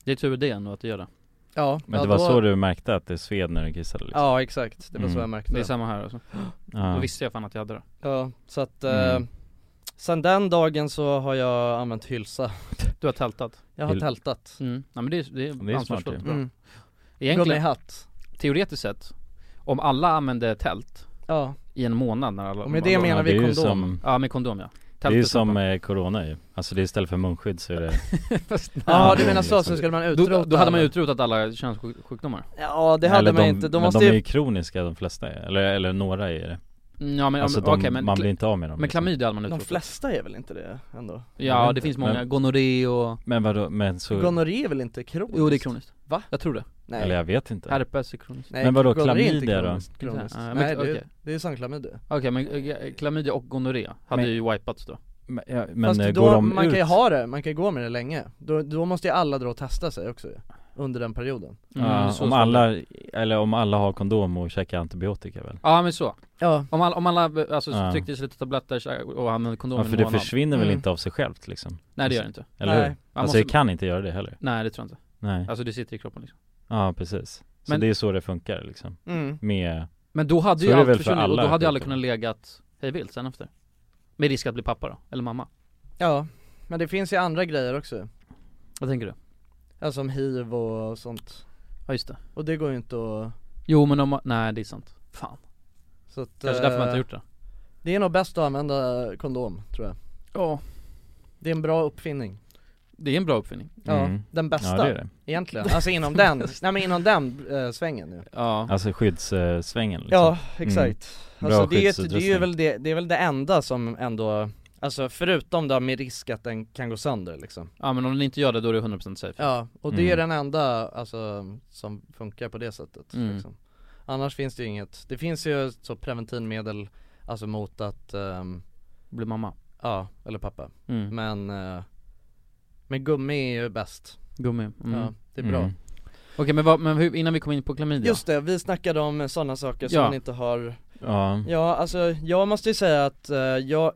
B: Det är tur det ändå att du gör det
A: Ja,
C: Men
A: ja,
C: det var
A: då-
C: så du märkte att det sved när du kissade liksom?
A: Ja exakt, det var så
C: Mm.
A: jag märkte
B: Det är samma här alltså.
C: Ja.
B: Då visste jag fan att jag hade det
A: Ja, så att
C: Mm.
A: eh, sen den dagen så har jag använt hylsa
B: Du har tältat
A: Jag har
C: Hyl-
A: tältat
B: mm. Nej men det är, det är,
C: Det är smart ju.
B: ansvarsfullt bra
A: mm.
B: Egentligen,
A: Gummihatt
B: teoretiskt sett, om alla använder tält
A: Ja,
B: i en månad när alla
A: Och med det menar vi
C: det är ju
A: kondom.
C: som,
B: Ja med kondom ja
C: det är ju
B: Tältet
C: som
B: utan.
C: eh, corona ju. Alltså det är istället för munskydd så är det
B: Fast-
A: ja du
C: det
A: menar
C: är
A: så,
C: liksom-
A: så skulle man utrota
B: då, då hade man
A: alla.
B: ju utrotat alla könssjukdomar
A: Ja det hade
C: Eller
A: man
C: de,
A: inte, de
C: men
A: måste
C: de är
A: ju
C: ju kroniska de flesta, eller, eller några är det
B: Mm, Ja men,
C: Alltså
B: okej
C: de,
B: men,
C: man
B: kla-
C: blir inte av med dem
B: men
C: liksom.
B: klamydia hade man
A: De
B: utrotat
A: flesta är väl inte det ändå?
C: Jag
B: Ja
C: vet
B: det
C: inte,
B: finns många,
C: men-
B: gonorré och,
C: Men vadå, men så,
A: Gonorré är väl inte kroniskt?
B: jo det är kroniskt
A: Va?
B: Jag tror det,
A: Nej,
C: eller jag vet inte
B: herpes är kroniskt
A: Nej
C: Men vadå,
A: gonorré är inte
C: klamydia då?
A: kroniskt, kroniskt.
B: Ja, men-
A: Nej det, är
B: okej.
A: det är som klamydia
B: Okej men eh, klamydia och gonorré hade
C: Men-
B: ju wipats då
C: Men, ja, men
A: Fast
C: eh,
A: då,
C: går de
A: man
C: ut?
A: kan ju ha det, man kan ju gå med det länge Då, då måste ju alla dra och testa sig också ju, under den perioden
C: Ja,
B: Mm, så
C: om
B: står det.
C: alla, eller om alla har kondom och käkar antibiotika väl?
B: Ja men så,
A: Ja,
B: om alla, om alla alltså,
C: Ja.
B: tryckte i sig lite tabletter så- och använde kondom
C: Ja,
B: i
C: för
B: en
C: det
B: månad
C: försvinner väl
A: Mm.
C: inte av sig självt liksom?
B: Nej det gör det inte,
C: Eller
A: Nej.
C: hur?
B: Man
C: Alltså det
B: måste-
C: kan inte göra det heller
B: nej det tror jag inte
C: Nej,
B: Alltså det sitter i kroppen liksom
C: ja precis Så
B: Men-
C: det är så det funkar liksom,
A: mm.
C: med,
B: Men då hade
C: Så
B: ju
C: är det väl
B: allt
C: för
B: försvunnit och
C: alla
B: då hade ju alla
C: sjukdomar.
B: kunnat legat hej vilt sen efter Med risk att bli pappa då, eller mamma
A: ja Men det finns ju andra grejer också
B: Vad tänker du?
A: Alltså som hiv och sånt
B: Ja just det
A: Och det går ju inte att
B: Jo men om, man- nej det är sant Fan,
A: Så att,
B: kanske därför man inte
A: eh,
B: gjort det
A: Det är nog bäst att använda kondom tror jag
B: Ja
A: Det är en bra uppfinning
B: Det är en bra uppfinning
A: Ja,
C: Mm.
A: den
C: ja
A: bästa
C: det är det
A: egentligen, alltså inom den, nej men inom den eh, svängen ju
B: Ja
C: Alltså skyddssvängen liksom
A: Ja, exakt
C: Mm.
A: Alltså
C: Bra
A: det är, ju- det är
C: skyddsutrustning.
A: ju väl det, det är väl det enda som ändå Alltså förutom då med risk att den kan gå sönder liksom
B: Ja men om den inte gör det då är det 100% safe
A: Ja, och det är
C: Mm.
A: den enda alltså som funkar på det sättet
B: Mm.
A: liksom. Annars finns det ju inget, det finns ju så preventivmedel Alltså mot att, ehm,
B: Blir mamma
A: ja, eller pappa
B: mm.
A: Men, eh, men gummi är ju bäst,
B: Gummi, mm.
A: ja, det är bra
C: Mm.
B: Okej men, vad, men hur, innan vi kom in på klamydia
A: Just det, vi snackade om sådana saker som
B: Ja.
A: man inte har
C: Ja,
A: Ja alltså jag måste ju säga att eh, jag,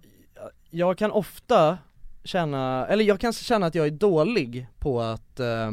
A: jag kan ofta känna, eller jag kan känna att jag är dålig på att, eh,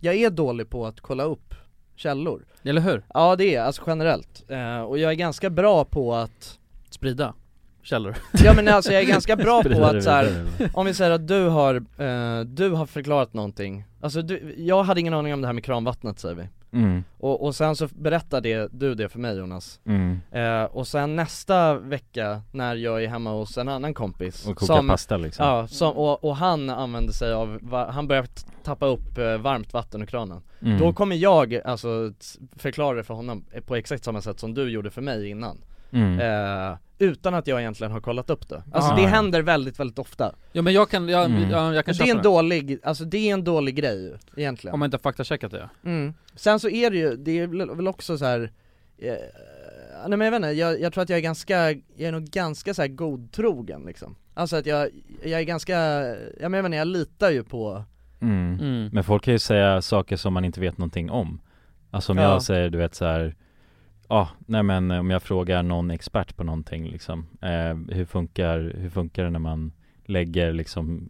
A: jag är dålig på att kolla upp källor
B: Eller hur?
A: Ja det är alltså generellt, eh, och jag är ganska bra på att
B: Sprida källor
A: Ja men alltså jag är ganska bra på
C: Sprida det
A: att så här,
C: vidare, va?
A: om vi säger att du har, eh, du har förklarat någonting Alltså du, jag hade ingen aning om det här med kranvattnet säger vi
C: Mm,
A: och, och sen så berättade du det för mig Jonas
C: mm,
A: Eh, och sen nästa vecka när jag är hemma hos en annan kompis
C: och koka
A: som,
C: pasta liksom
A: Ja, som, och, och han använder sig av, va- han börjar t- tappa upp eh, varmt vatten ur kranen
C: mm.
A: Då kommer jag alltså t- förklara det för honom eh, på exakt samma sätt som du gjorde för mig innan
C: mm.
A: eh, Utan att jag egentligen har kollat upp det Alltså
B: Ah.
A: det händer väldigt, väldigt ofta
B: Ja men jag kan, jag,
C: Mm.
B: jag, jag kan
A: Men Det är
B: köpa
A: en
B: det
A: dålig, alltså det är en dålig grej ju, egentligen
B: Om man inte har faktacheckat det
A: Mm. Sen så är det ju, det är väl- väl också så här. Eh, nej men jag vet inte, jag, jag tror att jag är ganska, jag är nog ganska så här godtrogen liksom Alltså att jag, jag är ganska, jag menar jag litar ju på
C: Mm.
B: mm.
C: Men folk kan ju säga saker som man inte vet någonting om Alltså om
A: Ja.
C: jag säger du vet så här Ja, nej men om jag frågar någon expert på någonting liksom eh, hur, funkar, hur funkar det när man lägger liksom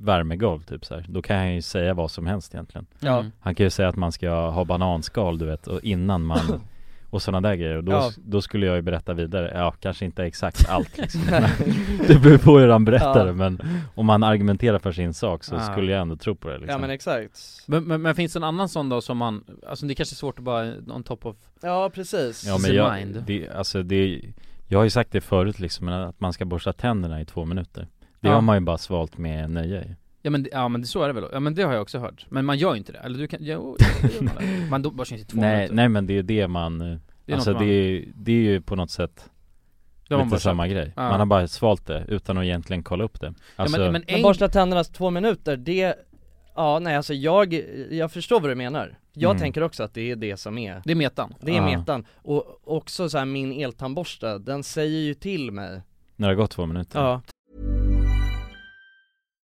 C: värmegolv typ så här? Då kan han ju säga vad som helst egentligen
A: Ja.
B: Mm.
C: Han kan ju säga att man ska ha bananskal du vet och innan man och sådana där grejer och då,
A: Ja.
C: då skulle jag ju berätta vidare, ja kanske inte exakt allt liksom Det beror på hur han berättar det
A: Ja.
C: men om han argumenterar för sin sak så
B: Ah.
C: skulle jag ändå tro på det liksom.
A: Ja men exakt
B: Men, men, men finns det en annan sån då som man, alltså det kanske är svårt att bara, on top of
A: Ja precis
C: Ja
B: Is
C: men
B: it
C: jag,
B: mind?
C: det, alltså det, jag har ju sagt det förut liksom, men att man ska borsta tänderna i två minuter Det
B: Ja.
C: har man ju bara svalt med nöje ju.
B: Ja men, det- ja men det- så är det väl, ja men det har jag också hört. Men man gör ju inte det, eller du kan, jo, det gör man väl. man då bara känns i två
F: Nej,
B: minuter
F: nej men det är ju det man, eh,
B: Det är
F: alltså
B: något
F: det,
B: man-
F: är, det är ju på något sätt
B: Det har man bara
F: lite samma
B: köpt.
F: grej.
B: Ja.
F: Man har bara svalt det utan att egentligen kolla upp det. Alltså,
A: men, borsta tänderna två minuter, det, ja nej alltså jag, jag förstår vad du menar Jag
F: Mm.
A: tänker också att det är det som är
B: Det är metan
A: Det är
F: Ja.
A: metan, och också så här min eltandborste, den säger ju till mig
F: när det har gått två minuter.
A: Ja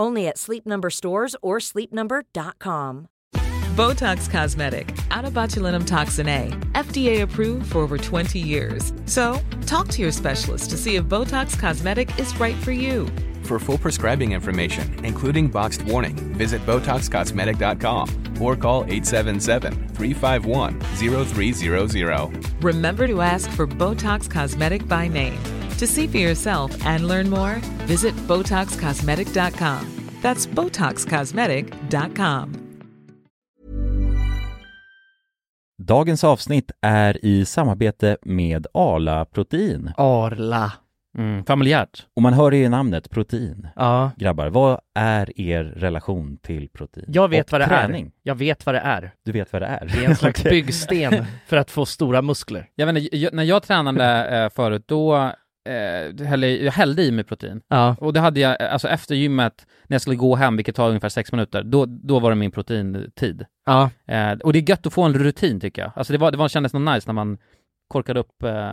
H: Only at Sleep Number stores or sleepnumber.com.
I: Botox Cosmetic, out of botulinum toxin A, FDA approved for over 20 years. So, talk to your specialist to see if Botox Cosmetic is right for you.
J: For full prescribing information, including boxed warning, visit BotoxCosmetic.com or call 877-351-0300.
I: Remember to ask for Botox Cosmetic by name. To see for yourself and learn more, visit BotoxCosmetic.com. That's BotoxCosmetic.com.
C: Dagens avsnitt är i samarbete med Arla Protein.
K: Arla.
C: Mm, familjärt. Och man hör det i namnet, protein.
K: Ja.
C: Grabbar, vad är er relation till protein?
K: Jag vet
C: Och
K: vad det
C: träning?
K: är. Jag vet vad det är.
C: Du vet vad det är?
K: Det är en slags
C: Okej.
K: byggsten för att få stora muskler.
B: Jag vet inte, jag, när jag tränade eh, förut, då eh, hällde jag hällde i mig protein.
K: Ja.
B: Och det hade jag, eh, alltså efter gymmet, när jag skulle gå hem, vilket tar ungefär sex minuter, då, då var det min proteintid.
K: Ja.
B: Eh, och det är gött att få en rutin tycker jag. Alltså det, var, det var, kändes nog nice när man korkade upp... Eh...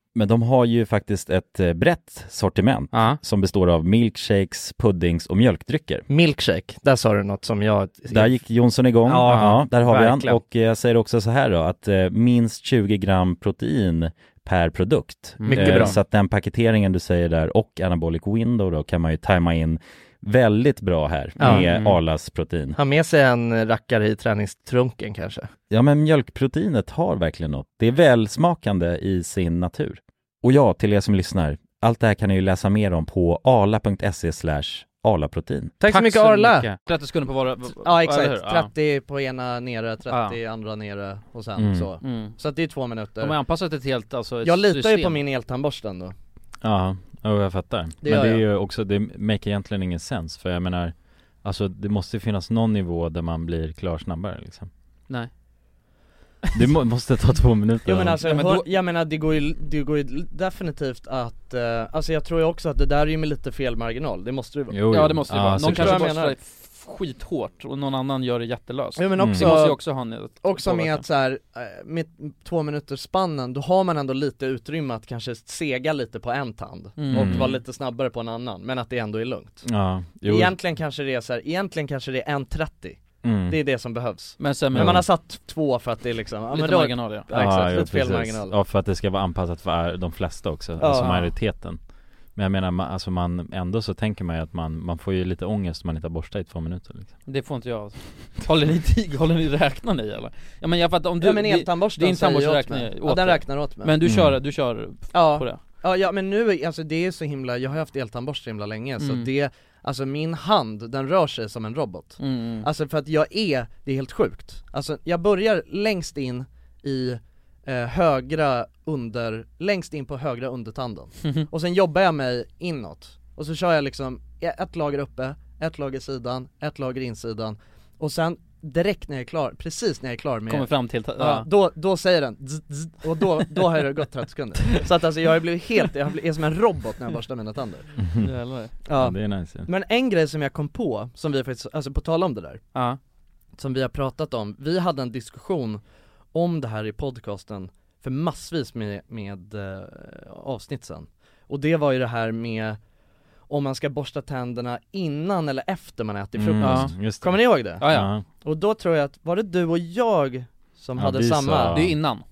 C: men de har ju faktiskt ett eh, brett sortiment som består av milkshakes, puddings och mjölkdrycker.
K: Milkshake, där sa du något som jag...
C: Där gick Jonsson igång.
K: Ja,
C: Ja, där har vi
K: verkligen.
C: han. Och eh, jag säger också så här då, att eh, minst 20 gram protein per produkt. Eh,
K: Mm. Mycket bra.
C: Så att den paketeringen du säger där och anabolic window då kan man ju tajma in väldigt bra här
K: Ja.
C: med
K: Mm.
C: Arlas protein.
K: Ha med sig en rackare i träningstrunken kanske.
C: Ja, men mjölkproteinet har verkligen något. Det är välsmakande i sin natur. Och ja, till er som lyssnar, allt det här kan ni ju läsa mer om på arla.se slash arlaprotein.
K: Tack så mycket, Arla.
B: 30 sekunder på var...
A: Ja exakt,
B: eller hur? Ja.
A: 30 på ena nere, 30 andra nere och sen
C: Mm.
A: så
B: Mm.
A: Så att det är två minuter
B: De har anpassat ett helt, alltså,
A: Jag litar ju på
B: system.
A: min eltandborste ändå
F: Ja, ja, jag fattar.
A: Det
F: men
A: gör
F: det är ju också, det make egentligen ingen sens för jag menar, alltså det måste ju finnas någon nivå där man blir klar snabbare liksom.
B: Nej.
F: Mm. Det må, måste ta två minuter.
A: Jo men alltså,
F: Ja,
A: hör, jag menar det går ju, det går ju definitivt att, eh, alltså jag tror ju också att det där är ju med lite fel marginal, det måste det ju vara
B: ja det måste det vara. Någon kanske
A: Förstår vad jag
B: borstar
A: menar?
B: det skithårt och någon annan gör det jättelöst.
A: Ja, men också-
B: Mm. Det måste ju också ha en
A: Också med
B: påverkan.
A: att så här, eh, med två minuters spannen då har man ändå lite utrymme att kanske sega lite på en tand
F: Mm.
A: och vara lite snabbare på en annan, men att det ändå är lugnt
F: Ja, jo.
A: Egentligen kanske det är så här, egentligen kanske det är 1.30
F: Mm.
A: Det är det som behövs
B: Men sen-
A: man har satt två för att det är liksom, ja,
B: Lite
A: men då,
B: marginal, ja.
A: ja exakt,
F: jo,
A: lite fel
F: precis.
A: marginal
F: Ja, för att det ska vara anpassat för de flesta också,
A: Ja.
F: alltså majoriteten. Men jag menar, man, alltså man, ändå så tänker man ju att man, man får ju lite ångest om man inte har borstat i två minuter liksom.
B: Det får inte jag Håller ni dig, håller ni räkna ni eller? Ja men Mm. jag fattar om du
A: Ja men
B: di-
A: eltandborsten
B: Din
A: säger
B: tandborste
A: åt
B: räknar
A: mig.
B: ju
A: Ja den
B: dig.
A: räknar åt mig
B: Men du kör, du kör
A: ja.
B: på det?
A: Ja, ja men nu, är- alltså det är så himla, jag har ju haft eltandborste så himla länge så
B: Mm.
A: det, alltså min hand den rör sig som en robot
B: Mm.
A: Alltså för att jag är, det är helt sjukt Alltså jag börjar längst in i eh, högra under, längst in på högra undertanden
B: Mhm.
A: Och sen jobbar jag mig inåt Och så kör jag liksom ett lager uppe, ett lager sidan, ett lager insidan och sen direkt när jag är klar, precis när jag är klar med
B: Kommer fram till,
A: ja.
B: ja.
A: då, då säger den zzz, zzz, och då, då har det gått 30 sekunder Så att alltså jag har blivit helt, jag är som en robot när jag borstar mina tänder
B: Jävlar.
A: Ja.
F: det är nice ja.
A: Men en grej som jag kom på, som vi faktiskt, alltså på tal om det där
B: Ja
A: Som vi har pratat om, vi hade en diskussion om det här i podcasten för massvis med, med eh, avsnitt sen Och det var ju det här med om man ska borsta tänderna innan eller efter man ätit
F: Mm,
A: frukost
F: ja, just det.
A: Kommer ni ihåg det?
F: Ja, ja.
A: Och då tror jag att, var det du och jag som
F: Ja,
A: hade
F: vi
A: samma?
F: sa- Det är
B: innan.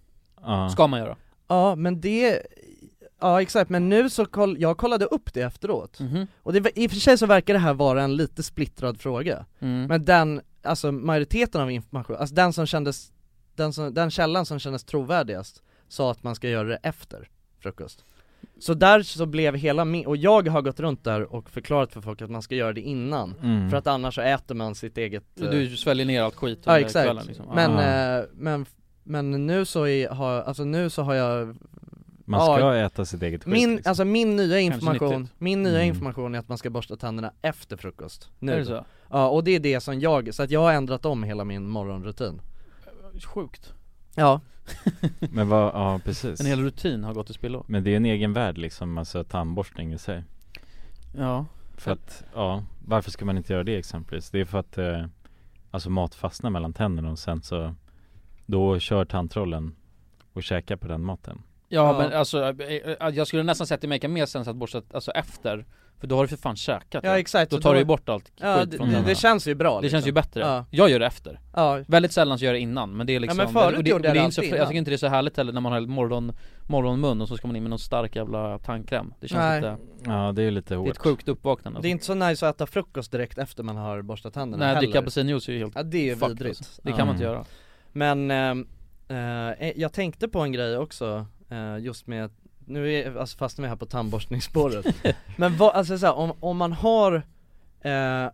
F: Ja.
B: Ska man göra
A: Ja men det, ja exakt, men nu så koll, jag kollade upp det
F: Mm.
A: efteråt
B: Mhm.
A: Och det, i och för sig så verkar det här vara en lite splittrad fråga
B: Mm.
A: Men den, alltså majoriteten av information, alltså den som kändes, den, som, den källan som kändes trovärdigast sa att man ska göra det efter frukost Så där så blev hela min, och jag har gått runt där och förklarat för folk att man ska göra det innan
F: Mm.
A: För att annars så äter man sitt eget eh,
B: Du sväljer ner allt skit
A: Ja
B: under
A: exakt,
B: kvällen liksom. Ja.
A: men,
F: Ah.
A: eh, men, men nu så är, har, alltså nu så har jag
F: Man ska
A: ja,
F: äta sitt eget skit
A: min,
F: liksom.
A: alltså min nya
B: Kanske
A: information,
B: nyttigt.
A: min nya
F: Mm.
A: information är att man ska borsta tänderna efter frukost nu
B: Är det så?
A: Ja och det är det som jag, så att jag har ändrat om hela min morgonrutin
B: Sjukt
A: Ja alltså-
F: Men vad, ja precis
B: En hel rutin har gått till spillo
F: Men det är en egen värld liksom, alltså tandborstning i sig
B: Ja
F: För att, ja, varför ska man inte göra det exempelvis? Det är för att eh, Alltså mat fastnar mellan tänderna och sen så Då kör tandtrollen och käkar på den maten
B: Ja, men alltså eh, eh, jag skulle nästan säga att det makar mer sens att borsta alltså efter För då har du för fan käkat
A: Ja,
B: det.
A: exakt,
B: Då
A: och
B: tar
A: då-
B: du ju bort allt
A: Ja
B: skit
A: det,
B: från
A: det,
B: tänderna.
A: det känns ju bra
B: Det känns ju bättre,
A: Ja,
B: jag gör det efter
A: ja.
B: Väldigt sällan så gör jag det innan, men det är liksom
A: men förut
B: och
A: gjorde
B: det,
A: jag
B: och det
A: det
B: är inte så,
A: alltid
B: Jag
A: innan.
B: tycker inte det är så härligt heller när man har morgon, morgonmun och så ska man in med någon stark jävla tandkräm Det känns
A: Nej.
B: lite,
F: Ja det är lite
B: det är ett
F: hårt
B: sjukt uppvaknande
A: det är
B: alltså.
A: inte så nice att äta frukost direkt efter man har borstat tänderna
B: Nej,
A: heller.
B: dricka apelsinjuice är ju helt
A: Ja det är ju
B: fucked,
A: vidrigt
B: alltså. Det
A: Ja.
B: kan man inte göra
A: Men ehm, eh, jag tänkte på en grej också, eh, just med, nu är, alltså fastnar vi här på tandborstningsspåret Men vad, alltså så här, om, om man har eh,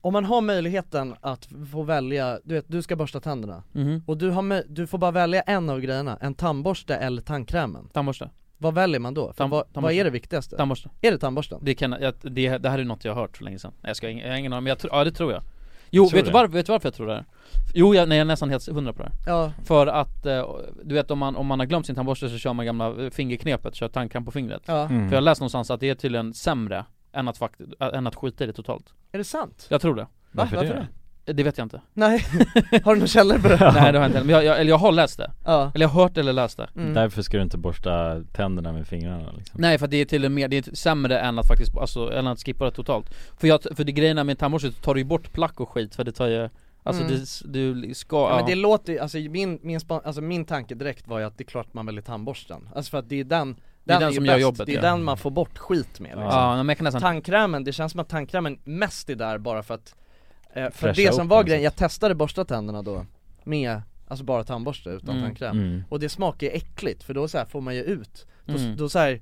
A: Om man har möjligheten att få välja, du vet du ska borsta tänderna
B: Mhm.
A: Och du, har, möj- du får bara välja en av grejerna, en tandborste eller tandkrämen
B: Tandborste,
A: Vad väljer man då? För
B: Tam-
A: vad, vad
B: tandborste.
A: är det viktigaste?
B: tandborste
A: är det tandborsten?
B: Det kan, jag, det, det här är något jag har hört för länge sedan Nej jag, ska, jag har ingen aning, men jag tror, ja det tror jag Jo,
F: Tror
B: vet du,
F: det?
B: varför, vet du varför jag tror det här? Jo, jag, nej, jag är nästan helt hundra på det här
A: Ja,
B: För att, eh, du vet om man, om man har glömt sin tandborste så kör man gamla eh, fingerknepet, kör tandkräm på fingret
A: ja,
F: Mm.
B: För jag har läst någonstans att det är tydligen sämre än att, fakt- äh, än att skita i det totalt
A: är det sant?
B: Jag tror det,
F: Varför,
A: Varför
F: det?
B: Eh, det vet jag inte
A: Nej, har du någon källor på det?
B: Nej det har jag inte, men jag, jag, eller jag har läst det,
A: Ja,
B: eller jag har hört eller läst det
A: mm.
F: Därför ska du inte borsta tänderna med fingrarna liksom
B: Nej för det är tydligen mer, det är sämre än att faktiskt, alltså, än att skippa det totalt För jag, för det grejerna med tandborste tar du ju bort plack och skit för det tar ju Alltså
A: Mm.
B: det, du ska,
A: Ja, men det låter ju, alltså min, min, span, alltså min tanke direkt var ju att det är klart man väljer tandborsten Alltså för att det är den, den,
B: Det är den
A: ju
B: som gör
A: bäst.
B: jobbet,
A: Det är
B: ja.
A: den man får bort skit med liksom.
B: ja, men jag kan nästan
A: Tandkrämen, det känns som att tandkrämen mest är där bara för att eh, För
F: Fräscha
A: det
F: upp
A: som var
F: den,
A: grejen,
F: så.
A: jag testade borsta tänderna då Med, alltså bara tandborste utan
B: Mm.
A: tandkräm
F: Mm.
A: Och det smakar ju äckligt för då så här får man ju ut Då,
B: Mm.
A: då så här,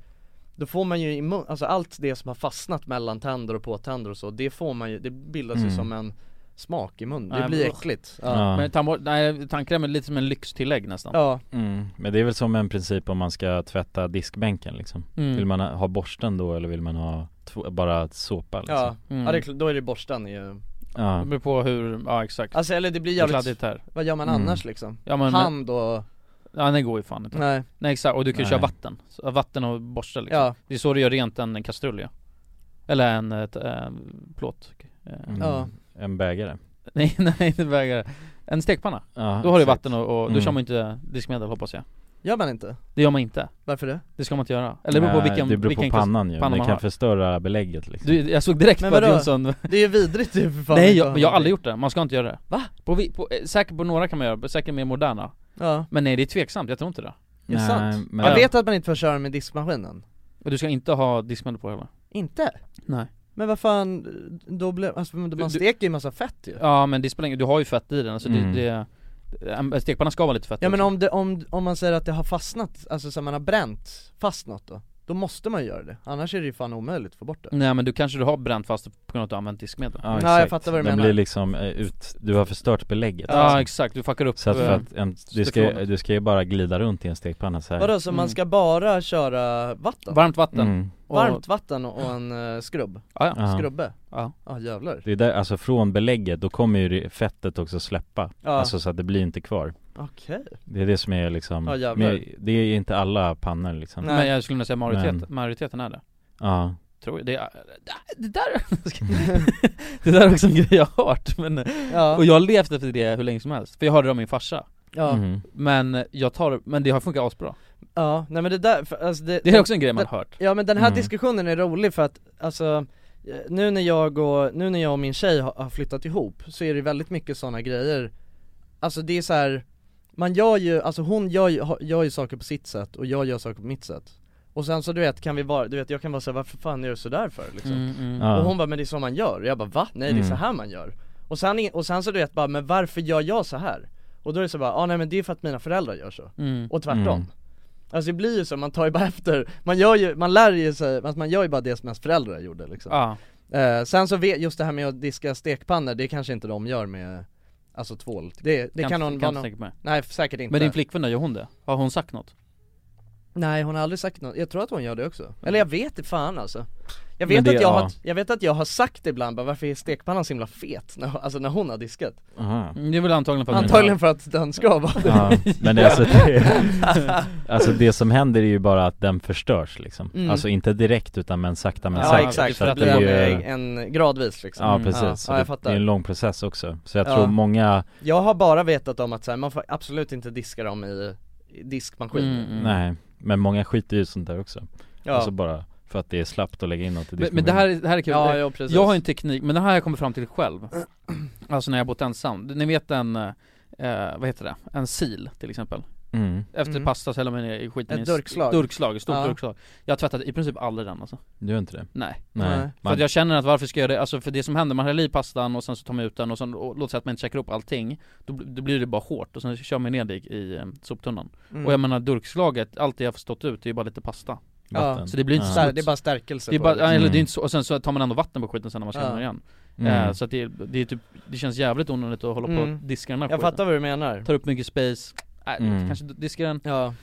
A: då får man ju i mun, alltså allt det som har fastnat mellan tänder och påtänder och så Det får man ju, det bildas ju
F: Mm.
A: som en smak i munnen, det
B: Nej,
A: blir
B: usch.
A: äckligt Ja,
F: Ja.
B: Men tandbor- nej, tandkräm är lite som en lyxtillägg nästan
A: ja.
F: Mm. Men det är väl som en princip om man ska tvätta diskbänken liksom
B: Mm.
F: Vill man ha, ha borsten då eller vill man ha tv- bara såpa liksom?
A: Ja,
B: Mm.
A: ja det är, kl- då är det borsten ju
F: Ja.
B: Det beror på hur, ja exakt
A: Alltså eller det blir
B: Det är
A: jävligt,
B: kladdigt här
A: vad gör man
F: Mm.
A: annars liksom?
B: Ja men, Liksom.
A: Hand och,
B: ja den går ju fan inte
A: nej,
B: Nej exakt, och du kan ju
F: Nej.
B: köra vatten, Så vatten och borste liksom
A: ja,
B: Det är så du gör rent en kastrull ja. Eller en, ett, eh, plåt Eh,
F: Mm.
A: Ja.
F: En bägare
B: Nej nej det vägrar En stekpanna,
F: ja,
B: då har du
F: exakt.
B: vatten och, och då
F: Mm.
B: kör man inte diskmedel hoppas jag
A: gör man inte?
B: Det gör man inte,
A: Varför det?
B: det ska man inte göra Eller det beror på
F: Nej,
B: vilken,
F: Det beror
B: vilken
F: på pannan ju,
B: panna
F: det
B: man
F: kan
B: har.
F: förstöra belägget liksom
B: Du, jag såg direkt
A: Men
B: på att
A: vadå?
B: Jonsson
A: Det är ju vidrigt ju för fan
B: Nej
A: inte
B: jag,
A: att ha
B: men jag har
A: någonting.
B: aldrig gjort det, man ska inte göra det Va? På, vi- på, eh, säkert på några kan man göra det, säkert mer moderna
A: Ja,
B: Men nej det är tveksamt, jag tror inte det
A: det är sant.
F: men,
A: jag vet att man inte får köra med diskmaskinen,
B: Och du ska inte ha diskmedel på heller
A: inte?
B: Nej
A: Men vad fan, då blev, alltså men man
B: Du-
A: steker ju massa fett ju
B: Ja men det spelar ingen du har ju fett i den alltså
F: Mm.
B: det, det en Stekpanna ska vara lite fett
A: Ja men
B: också.
A: om, det, om, om man säger att det har fastnat, alltså så man har bränt fast något då? Då måste man ju göra det, annars är det ju fan omöjligt att få bort det
B: Nej men du kanske du har bränt fast på grund av att du har använt diskmedel
F: Ja,
A: Ja, jag
F: exakt.
A: fattar vad du
F: Den
A: menar.
F: blir liksom eh, ut, du har förstört belägget alltså.
B: Ja, exakt. Du fuckar upp,
F: Så att för
B: eh,
F: att en, du, ska,
B: stekfrågan.
F: du ska ju bara glida runt i en stekpanna så här.
A: Vadå, så man
B: Mm.
A: ska bara köra vatten?
B: Varmt vatten. Mm.
A: Varmt vatten och och en eh, skrubb?
B: Ja,
F: ja.
A: Skrubbe?
B: Ja
A: Ja jävlar
F: Det är där, alltså från belägget, då kommer ju det- fettet också släppa
A: Ja.
F: Alltså så att det blir inte kvar
A: Okej.
F: Det är det som är liksom,
B: Ja, jävlar.
F: men det är inte alla pannor liksom
B: Men jag skulle nog säga majoriteten,
F: Men-
B: majoriteten är det
F: Ja
B: Tror jag, det är, det där Det där är också en grej jag har hört men,
A: Ja.
B: och jag har levt efter det hur länge som helst, för jag hörde det av min farsa
A: Ja.
F: Mm.
A: Mhm.
B: Men jag tar, men det har funkat asbra
A: Ja, nej men det där, för, alltså det,
B: Det är också en grej man
A: den-
B: har hört.
A: Ja men den här
B: Mm.
A: diskussionen är rolig för att, alltså eh, nu när jag och, nu när jag och min tjej har, har flyttat ihop så är det väldigt mycket sådana grejer Alltså det är så här. man gör ju, alltså hon gör ju, har- gör ju saker på sitt sätt och jag gör saker på mitt sätt och sen så du vet, kan vi vara, du vet jag kan vara såhär varför fan gör du sådär för liksom?
B: Mm, mm.
A: Och
B: Ja.
A: hon bara men det är så man gör, och jag bara va? Nej det är
B: Mm.
A: så här man gör och sen, är- och sen så du vet bara, men varför gör jag så här? Och då är det så bara, ah, nej men det är för att mina föräldrar gör så,
B: Mm.
A: och tvärtom
B: Mm.
A: Alltså det blir ju så, man tar ju bara efter, man gör ju, man lär ju sig, alltså man gör ju bara det som ens föräldrar gjorde liksom
B: Ja.
A: Eh, Sen så vet, just det här med att diska stekpannor, det kanske inte de gör med, alltså tvål Det, det
B: Kan
A: kan,
B: inte-
A: någon,
B: kan
A: vara
B: inte
A: någon-
B: tänka mig.
A: nej säkert inte
B: Men din flickvän då, gör hon det? Har hon sagt något?
A: Nej hon har aldrig sagt något, jag tror att hon gör det också, eller jag vet inte fan alltså jag vet,
B: Men det-
A: att jag,
B: ja.
A: har, jag vet att jag har sagt ibland bara, varför är stekpannan så himla fet? När, alltså när hon har diskat
F: Aha.
B: Mm, Det är väl antagligen för att
A: Antagligen för att den ska vara det
F: Ja, men det, är alltså, det, alltså det som händer är ju bara att den förstörs liksom
A: Mm.
F: Alltså inte direkt utan men sakta men
A: Ja,
F: säkert
A: exakt,
F: Så
A: för att
F: det är
A: blir
F: ju-
A: av med en gradvis, liksom.
F: Ja
A: Mm.
F: precis,
A: Ja,
F: Så
A: ja, jag
F: det, det
A: fattar.
F: är en lång process också Så jag
A: Ja.
F: tror många
A: Jag har bara vetat om att så här, man får absolut inte diska dem i i diskmaskin
B: Mm,
F: Nej, men många skiter ju i sånt där också
A: Ja.
F: Alltså bara för att det är slappt att lägga in något i
B: Men,
F: diskmaskinen
B: men det, här, är- det här är kul,
A: Ja, ja, precis.
B: jag har en teknik, men det här har jag kommit fram till själv Alltså när jag bott ensam, ni vet en, eh, vad heter det? En sil till exempel
F: Mm.
B: Efter
F: Mm.
B: pasta så häller man ner i skiten
A: Ett
B: i s-
A: durkslag.
B: Durkslag, ett stort
A: Ja.
B: durkslag Jag har tvättat i princip aldrig den alltså
F: Du gör inte det?
B: Nej,
F: Nej. Nej.
B: För att jag känner att varför ska jag göra det? Alltså för det som händer, man häller i pastan och sen så tar man ut den och sen, och låt säga att man inte käkar upp allting Då, bl- då blir det bara hårt och sen kör man ner det i, i eh, soptunnan
A: Mm.
B: Och jag menar durkslaget, allt det jag har stått ut det är ju bara lite pasta
A: Vatten.
B: Så det blir inte
A: Ja.
B: smuts.
A: Det är bara stärkelse
B: Det är
A: på
B: bara,
A: det, liksom.
B: eller det
A: Mm.
B: är inte så, och sen så tar man ändå vatten på skiten sen när man ska
A: Ja.
B: ja. igen
A: Mm.
B: eh, Så att det, det är typ, det känns jävligt onödigt att hålla på
A: Mm.
B: och diska den här
A: Jag
B: skiten.
A: fattar vad du menar.
B: Tar upp mycket space, äh,
A: Mm.
B: kanske diska den
A: Ja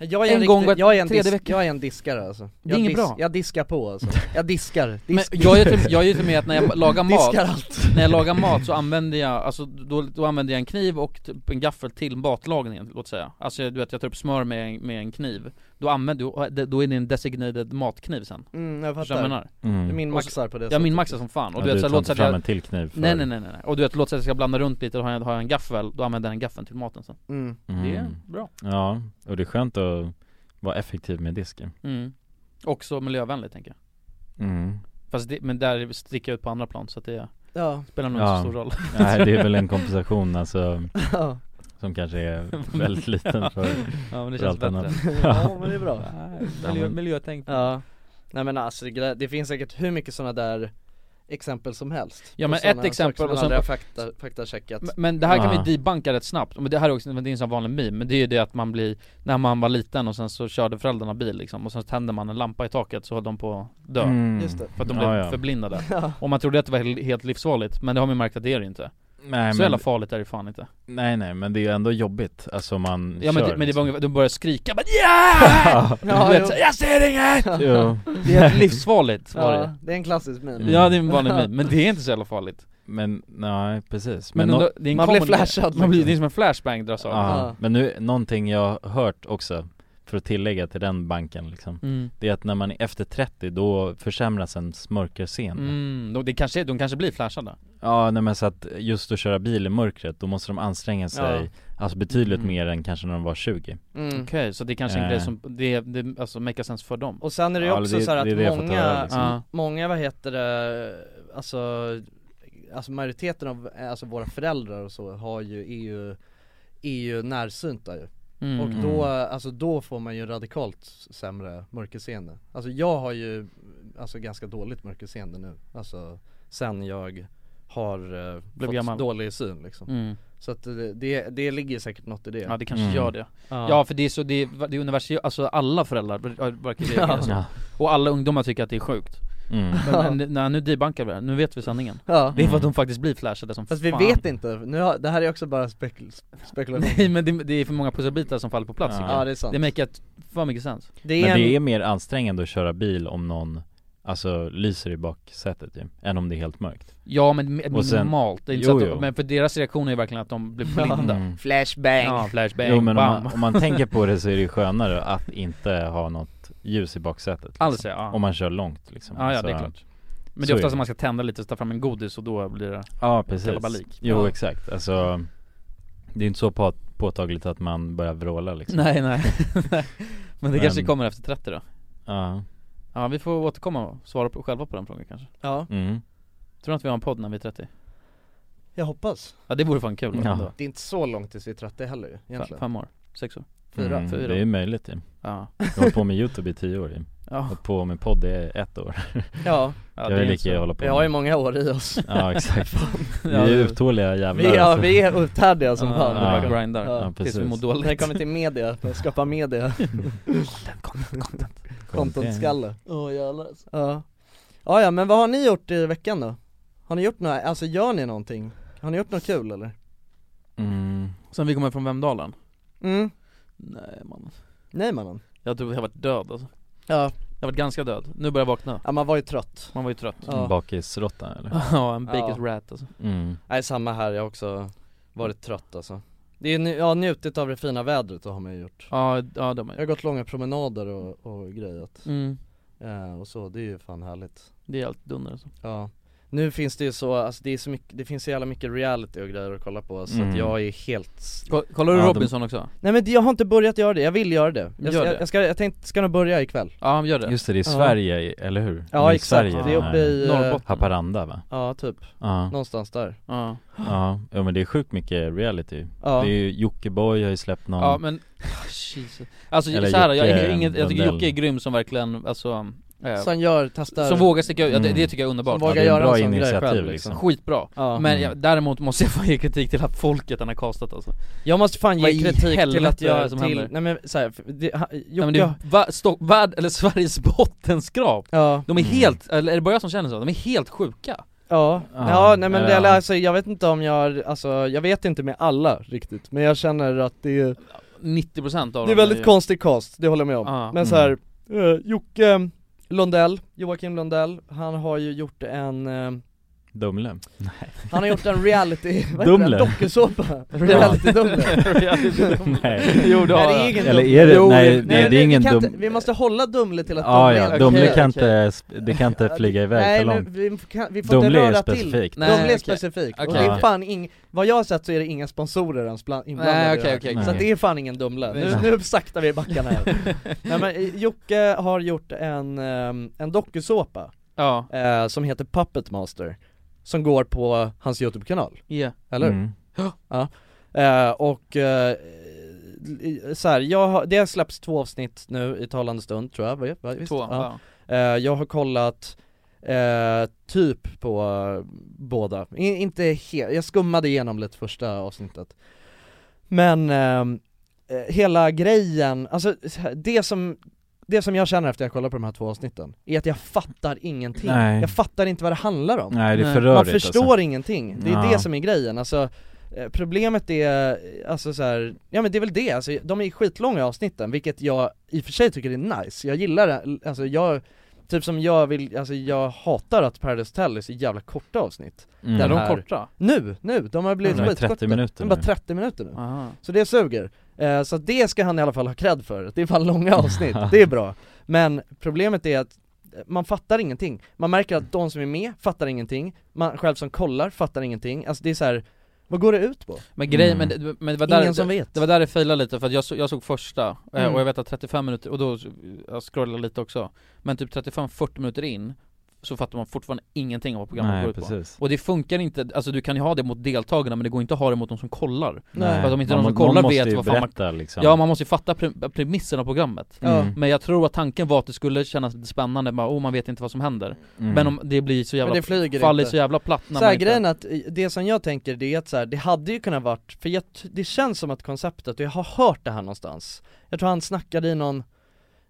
A: Jag är en,
B: En gång var
A: riktig, jag är en,
B: tredje
A: disk,
B: vecka.
A: jag är en diskare alltså
B: Det är
A: jag
B: inget bra.
A: Jag diskar på alltså, jag diskar,
B: Men
A: disk.
B: jag är till, jag är till med att när jag lagar mat,
A: Diskar allt
B: när jag lagar mat så använder jag, alltså då, då använder jag en kniv och typ en gaffel till matlagningen, låt säga Alltså jag- du vet, jag tar upp smör med en, med en kniv Då använder du, då är det en designated matkniv sen
A: Mm, jag
B: Förstår du vad jag menar?
F: Mm. Du
A: minmaxar på det
B: Jag
A: sättet.
B: minmaxar som fan och
F: Ja,
B: du
F: du
B: vet så
F: tar
B: låt
F: inte
B: säga att
F: fram
B: jag...
F: en till kniv för-
B: nej, nej nej nej nej, och du vet låt säga att jag ska blanda runt lite, då har jag, har jag en gaffel, då använder jag den gaffeln till maten sen
A: Mm.
B: Det är bra
F: Ja, och det är skönt att vara effektiv med disken
B: mm. Också miljövänligt tänker jag
F: Mm.
B: Fast det, men där sticker jag ut på andra plan så att det
A: Ja.
B: spelar nog
F: Ja.
B: inte så stor roll
F: Nej det är väl en kompensation alltså
A: Ja.
F: Som kanske är väldigt liten för,
B: Ja, men det
F: för
B: känns
F: allt
B: bättre.
F: annat.
A: Ja men det är bra
F: Ja, miljö- men-
B: miljötänk
A: Ja Nej men alltså det, gre- det finns säkert hur mycket sådana där exempel som helst
B: Ja
A: på
B: men
A: såna
B: ett exempel
A: saker
B: och
A: som man
B: sen,
A: aldrig har fakta, faktacheckat
B: Men- Men det här kan
F: Ah.
A: Ja.
B: vi debanka rätt snabbt, men det här är också, det är en sån vanlig meme, men det är ju det att man blir När man var liten och sen så körde föräldrarna bil liksom, och sen tände man en lampa i taket så höll de på att dö
F: Mm. Just det.
B: För att de
F: Ja,
B: blev
F: ja.
B: förblindade
F: Ja.
B: Och man trodde att det var hel- helt livsfarligt, men det har man ju märkt att det är det inte
F: Mm. Nej,
B: Så
F: men-
B: jävla farligt är det fan inte
F: Nej nej men det är ju ändå jobbigt, alltså om man
B: Ja men,
F: kör,
B: det, men det var ungefär, de började skrika bara
F: Ja.
B: yeah!
F: Ja,
B: du vet,
F: jo.
B: så, jag ser inget!
F: liksom. Jo.
B: Det är helt livsfarligt var
A: Ja,
B: det
A: det är en klassisk meme
F: Mm.
B: Ja det är en vanlig meme, men det är inte så jävla farligt
F: Men nej precis
B: Men,
F: nå-
B: ändå, det är en common- man blir, Det är som en flashbang dras av
F: Ja, men nu, någonting jag har hört också för att tillägga till den banken liksom
B: Mm.
F: Det är att när man är efter 30 då försämras ens mörkerseende
B: Mm, de, det kanske, de kanske blir flashade
F: Ja nej men så att just att köra bil i mörkret, då måste de anstränga sig Alltså
B: Mm.
F: betydligt mer än kanske när de var 20
A: Mm.
B: Okej, så det är kanske är en
F: Eh.
B: grej som, det, det alltså make sense för dem
A: Och sen är det ju
F: Ja,
A: också
F: det-
A: så här
F: det är
A: att
F: det jag får
A: många,
F: höra, liksom.
A: m- många vad heter det, alltså, alltså majoriteten av, alltså våra föräldrar och så har ju, E är ju, är ju närsynta ju
B: Mm.
A: Och då, alltså då får man ju radikalt sämre mörkerseende Alltså jag har ju, alltså ganska dåligt mörkerseende nu Alltså sen jag har eh,
B: Blev
A: fått
B: gammal.
A: dålig syn liksom
B: Mm.
A: Så att det, det, det ligger säkert något i det
B: Ja det kanske gör det ja. för det är så, det är, det är universitet, alltså alla föräldrar verkar reagera
A: Ja.
B: så.
A: Ja.
B: Och alla ungdomar tycker att det är sjukt
A: Mm.
B: Men, men när nu debankar vi det, här, nu vet vi sanningen
A: Ja.
B: Det är för att de faktiskt blir flashade som
A: Fast vi
B: fan.
A: vet inte, nu har, det här är också bara spekul spekulation
B: Nej men det, det är för många pusselbitar som faller på plats
A: Ja. Ja, det är sant.
B: Det make it för mycket sens
F: Men det är mer ansträngande att köra bil om någon Alltså lyser i baksätet ju, än om det är helt mörkt
B: Ja men me-
F: Och sen-
B: normalt, det är inte
F: jo,
B: så att,
F: jo.
B: men för deras reaktion är ju verkligen att de blir blinda
F: Mm.
A: Flashbang
B: Ja, flashbang,
F: Jo men om
B: bam
F: man, om man tänker på det så är det ju skönare att inte ha något ljus i baksätet liksom.
B: Alltså, ja.
F: Om man kör långt liksom
B: Ja, ja
F: Så-
B: det är klart Men det
F: så
B: är
F: är
B: oftast
F: det.
B: att man ska tända lite, ta fram en godis och då blir det
F: Ja precis
B: kalabalik.
F: Jo
B: ja.
F: exakt, alltså Det är inte så på- påtagligt att man börjar vråla liksom
B: Nej nej Men det kanske kommer efter 30 då?
F: Ja
B: Ja vi får återkomma och svara på, själva på den frågan kanske
A: Ja
F: mm.
B: Tror du att vi har en podd när vi är 30?
A: Jag hoppas
B: Ja det vore fan kul
F: Ja.
B: ändå.
A: Det är inte så långt tills vi är 30 heller ju,
B: F-
A: egentligen
B: Fem år? Sex år?
F: Mm,
B: Fyra
F: Det är ju möjligt ju
B: Ja.
F: Jag har hållit på med youtube i tio år ju
B: Ja.
F: Och på med podd i ett år
A: Ja.
F: Jag vill lika gärna hålla på
A: Vi har ju
F: med-
A: många år i oss
F: Ja exakt
A: Fan.
F: Vi är uthålliga jävlar
A: vi, ja,
F: alltså.
A: vi är uthärdiga som
F: Ja,
A: fan
F: vi bara grindar. Ja,
A: Tills vi
F: precis.
A: mår dåligt När det kommer till media, att skapa media
B: Content, content
A: Contentskalle Åh oh, jävlar alltså. ja. ja ja, men vad har ni gjort i veckan då? Har ni gjort några, alltså gör ni någonting? Har ni gjort något kul eller?
F: mm.
B: Sen vi kommer från Vemdalen?
A: Mm,
B: Nej man
A: nej mannen
B: Jag tror jag har varit död alltså.
A: Ja,
B: Jag har varit ganska död, nu börjar jag vakna
A: ja man var ju trött
B: Man var ju trött
A: Ja.
F: Bakisråtta eller?
B: Ja, en baked
A: Ja.
B: rat alltså
F: Mm.
A: Nej samma här, jag har också varit trött alltså Det är ju, nu- jag har njutit av det fina vädret och har man ju gjort
B: Ja, ja de
A: Jag har
B: är
A: gått långa promenader och, och grejat
B: mm.
A: eh, och så, det är ju fan härligt
B: Det är allt dunder alltså
A: Ja Nu finns det ju så, alltså det är så mycket, det finns så jävla mycket reality och grejer att kolla på så
F: Mm.
A: att jag är helt
B: Ko- Kollar du
F: Ja, de-
B: Robinson också?
A: Nej men jag har inte börjat göra det, jag vill göra det Jag,
B: Gör
A: jag,
B: det.
A: jag ska, jag tänkte, ska nog börja ikväll
B: Ja, gör det
F: Just det, det är
A: Ja.
F: Sverige, eller hur?
A: Ja
F: är i
A: exakt,
F: Sverige,
A: det är
F: den här
A: uppe i, eh,
B: Norrbotten.
F: Haparanda va?
A: ja typ,
F: Ja,
A: någonstans där
B: Ja,
F: ja, ja men det är sjukt mycket reality
A: Ja.
F: Det är ju, Jockiboi har ju släppt någon
B: ja men, Ah, Jesus. Alltså
F: Eller
B: så här, jag,
F: Jocke
B: jag, inget, jag tycker
F: Lundell.
B: Jocke är grym som verkligen, alltså eh,
A: Som gör, testar,
B: Som vågar sticka ut, ja, det,
F: Mm.
B: det tycker jag är underbart
A: Som vågar
F: det är
A: göra
F: bra
A: en sån grej
F: initiativ,
A: själv liksom.
F: liksom.
B: Skitbra
A: ja.
B: Men
F: Mm.
B: jag, däremot måste jag få ge kritik till att folket han har castat alltså
A: Jag måste fan
B: Vad
A: ge
B: i
A: kritik till
B: helvete
A: att
B: är
A: jag,
B: det som
A: till,
B: händer?
A: nej men såhär, det, ha-
B: Nej,
A: Jocke,
B: men det är va, Stock- värld, eller Sveriges bottenskrap
A: ja,
B: De är
F: Mm.
B: helt, eller är det bara jag som känner så? De är helt sjuka
A: ja,
F: Ja,
A: ja, nej men det,
F: ja.
A: eller, alltså, jag vet inte om jag, alltså jag vet inte med alla riktigt, men jag känner att det är,
B: 90% av dem
A: det är väldigt
B: ju-
A: konstig cast, det håller jag med om
B: Ja.
A: Men såhär,
F: Mm.
A: eh, Jocke Lundell, Joakim Lundell, han har ju gjort en, eh,
F: Dumle
A: han har gjort en reality, vad heter det?
F: Dumle.
A: Dokusåpa, reality-dumle
F: Nej,
B: Jo, det har
A: Nej, det är
B: jag.
A: ingen
F: eller
A: Dumle.
F: är det,
A: Jo,
F: nej, nej det
A: vi
F: är ingen
A: kan
F: dum
A: inte- Vi måste hålla Dumle till att
F: Ja
A: Dumle är
F: ja,
A: okej.
F: Dumle
B: okej,
F: kan
B: okej.
F: inte, det kan inte flyga iväg för
A: Nej,
F: långt
A: men vi, kan, vi får
F: Dumle
A: inte
F: är
A: röra till
F: specifikt
B: Nej,
A: Dumle är
B: okej.
A: specifikt, och
B: Okej,
A: det är
F: okej.
A: fan ing, vad jag har sett så är det inga sponsorer ens bland, inblandade
B: Nej
A: i det
B: okej
A: här.
B: okej,
F: Nej.
A: Så att
B: okej
A: det är fan ingen Dumle, nu,
B: Nej.
A: nu saktar vi i backarna här Nej men eh, Jocke har gjort en, ehm, en dokusåpa
B: Ja,
A: eh, som heter Puppet Master Som går på hans YouTube-kanal,
B: yeah.
A: eller hur?
F: Mm.
A: Eh, och eh, i- så här, jag har, det har släppts två avsnitt nu i talande stund tror jag, va, va, visst?
B: två,
A: Ja.
B: ja.
A: Eh, jag har kollat eh, typ på eh, båda, I, inte helt, jag skummade igenom lite första avsnittet Men ehm, eh, hela grejen, alltså så här, det som det som jag känner efter jag kollar på de här två avsnitten är att jag fattar ingenting.
F: Nej.
A: Jag fattar inte vad det handlar om.
F: Nej det är
B: Nej.
F: för rörigt
A: Man förstår
F: alltså.
A: ingenting, det är
F: Ja.
A: det som är grejen alltså eh, Problemet är, eh, alltså så här, ja men det är väl det, alltså, de är skitlånga avsnitten vilket jag i och för sig tycker är nice, jag gillar det, alltså jag Typ som jag vill, alltså jag hatar att Paradise Hotel är så jävla korta avsnitt
F: mm.
B: Är
A: den
B: de
A: här-
B: korta?
A: Nu, nu, de har blivit
F: De är 30
A: skitkorta
F: minuter
A: De är bara
F: nu.
A: 30 minuter nu,
B: Aha.
A: så det suger Eh, Så att det ska han i alla fall ha cred för, det är fan långa avsnitt, det är bra Men problemet är att man fattar ingenting, man märker att de som är med fattar ingenting, man själv som kollar fattar ingenting, alltså det är så här. vad går det ut på?
B: Men grejen,
F: Mm.
B: men, det- men det var
A: Ingen
B: där,
A: som
B: det,
A: vet
B: det var där det failade lite för att jag, så, jag såg första, eh,
A: Mm.
B: och jag vet att 35 minuter, och då, jag scrollade lite också Men typ 35-40 minuter in, så fattar man fortfarande ingenting av vad programmet
F: Nej,
B: går ut på
F: precis.
B: Och det funkar inte, alltså du kan ju ha det mot deltagarna men det går inte att ha det mot de som kollar
F: Nej.
B: För att om inte
F: Man
B: de som
F: må- någon
B: kollar
F: måste
B: vet
F: ju
B: vad fan
F: berätta,
B: man,
F: liksom.
B: Ja man måste ju fatta pre- premissen av programmet
F: Ja. Mm.
B: Men jag tror att tanken var att det skulle kännas lite spännande, bara oh man vet inte vad som händer
A: Mm.
B: Men om det blir så jävla,
A: Men det flyger
B: faller
A: inte.
B: så jävla platt när
A: så här,
B: man inte
A: grejen är att eh, det som jag tänker det är att så här, det hade ju kunnat varit, för jag, t- det känns som att konceptet, och jag har hört det här någonstans Jag tror han snackade i någon,